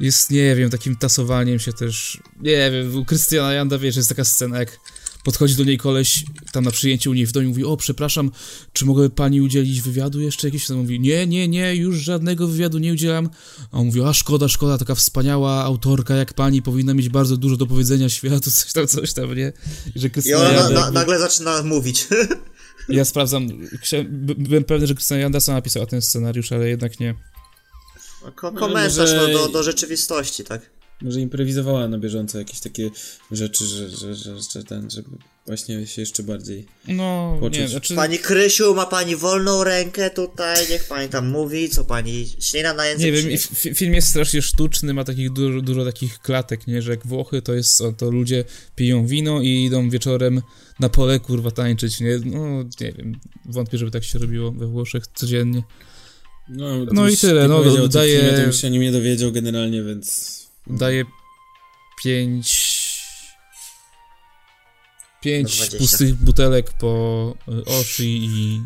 Jest, nie wiem, takim tasowaniem się też... Nie wiem, u Krystiana Janda, wiesz, jest taka scena jak... Podchodzi do niej koleś tam na przyjęciu u niej w domu i mówi, o przepraszam, czy mogłaby pani udzielić wywiadu jeszcze jakiegoś? Ona mówi, nie, nie, nie, już żadnego wywiadu nie udzielam. A on mówi, a szkoda, szkoda, taka wspaniała autorka jak pani powinna mieć bardzo dużo do powiedzenia światu, coś tam, coś tam, nie? no I że I Krystiana ona na, Janda na, jakby- nagle zaczyna mówić. ja sprawdzam. Chcia- by- Byłem pewny, że Krystian Jandasa napisała ten scenariusz, ale jednak nie. Ko- Komentarz no, może- do, do rzeczywistości, tak? Może improwizowała na bieżąco jakieś takie rzeczy, że, że, że, że ten, żeby właśnie się jeszcze bardziej... No, nie, Poczuć. znaczy. Pani Krysiu, ma pani wolną rękę tutaj, niech pani tam mówi, co pani ślina na język Nie wiem, i przyniesie. f- fi- film jest strasznie sztuczny, ma takich dużo, dużo takich klatek, nie, że jak Włochy to jest, o, to ludzie piją wino i idą wieczorem na pole, kurwa, tańczyć, nie, no, nie wiem, wątpię, żeby tak się robiło we Włoszech codziennie. No, No gdybyś i tyle, nie no, powiedział o tym daję- filmie, to bym się o nim nie dowiedział generalnie, więc... Daje pięć... Pięć Dwadzieścia. pustych butelek po y, oszy i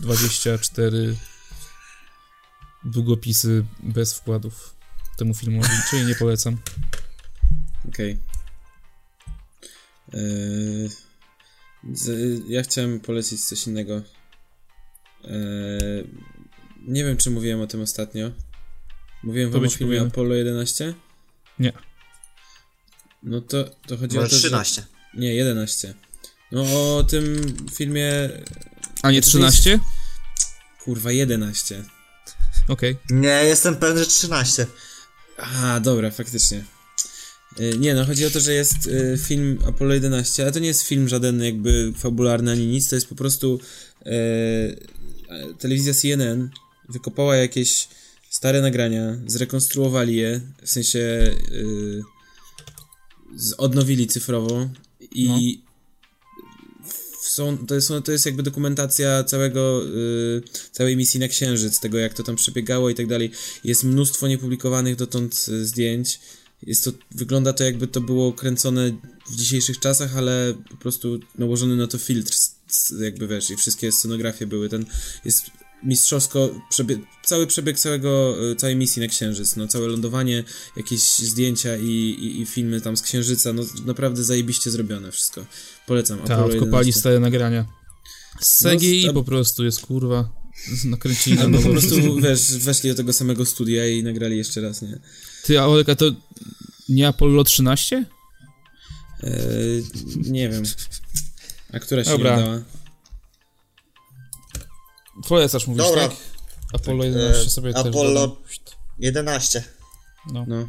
24 długopisy bez wkładów temu filmowi, czyli nie polecam. Okej. Eee, z- Ja chciałem polecić coś innego. Eee, Nie wiem, czy mówiłem o tym ostatnio. Mówiłem wam o Tobie ci filmie powiemy. Apollo 11? Nie. No to, to chodzi Może o to, 13. Że... Nie, 11. No o tym filmie... A nie To jest- 13? Kurwa, 11. Okej. Nie, jestem pewny, że 13. A, dobra, faktycznie. Y, Nie, no chodzi o to, że jest y, film Apollo 11, ale to nie jest film żaden jakby fabularny ani nic, to jest po prostu y, e, telewizja CNN wykopała jakieś stare nagrania, zrekonstruowali je, w sensie y, z- odnowili cyfrowo i w- są, to, jest, to jest jakby dokumentacja całego, y, całej misji na Księżyc, tego jak to tam przebiegało i tak dalej. Jest mnóstwo niepublikowanych dotąd y, zdjęć. Jest to, wygląda to jakby to było kręcone w dzisiejszych czasach, ale po prostu nałożony na to filtr, s- s- jakby wiesz, i wszystkie scenografie były. Ten jest mistrzowsko, przebie- cały przebieg całego, y, całej misji na Księżyc, no całe lądowanie, jakieś zdjęcia i, i, i filmy tam z Księżyca, no naprawdę zajebiście zrobione wszystko. Polecam. Tak, odkopali 11. stare nagrania. Z No, CGI sta- po prostu jest kurwa. z- Nakręcili na Albo No, po nowo. prostu, wiesz, weszli do tego samego studia i nagrali jeszcze raz, nie? Ty, a Oleka, to nie Apollo 13? Eee, nie wiem. A która się Dobra. nie udała? Polecasz, mówisz, Dobra. tak? Apollo 11 e, sobie też Apollo- dodam. 11. No. No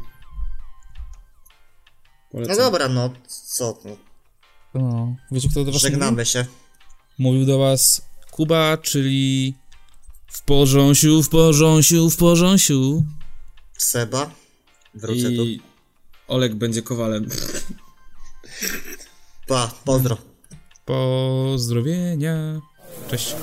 Polecam. dobra, no co? No, No. Wiecie, kto do was mówił? żegnamy się. Mówił do was Kuba, czyli w porząsiu, w porząsiu, w porząsiu. Seba. Wrócę tu. I Olek będzie kowalem. Pa, pozdro. Pozdrowienia. Cześć.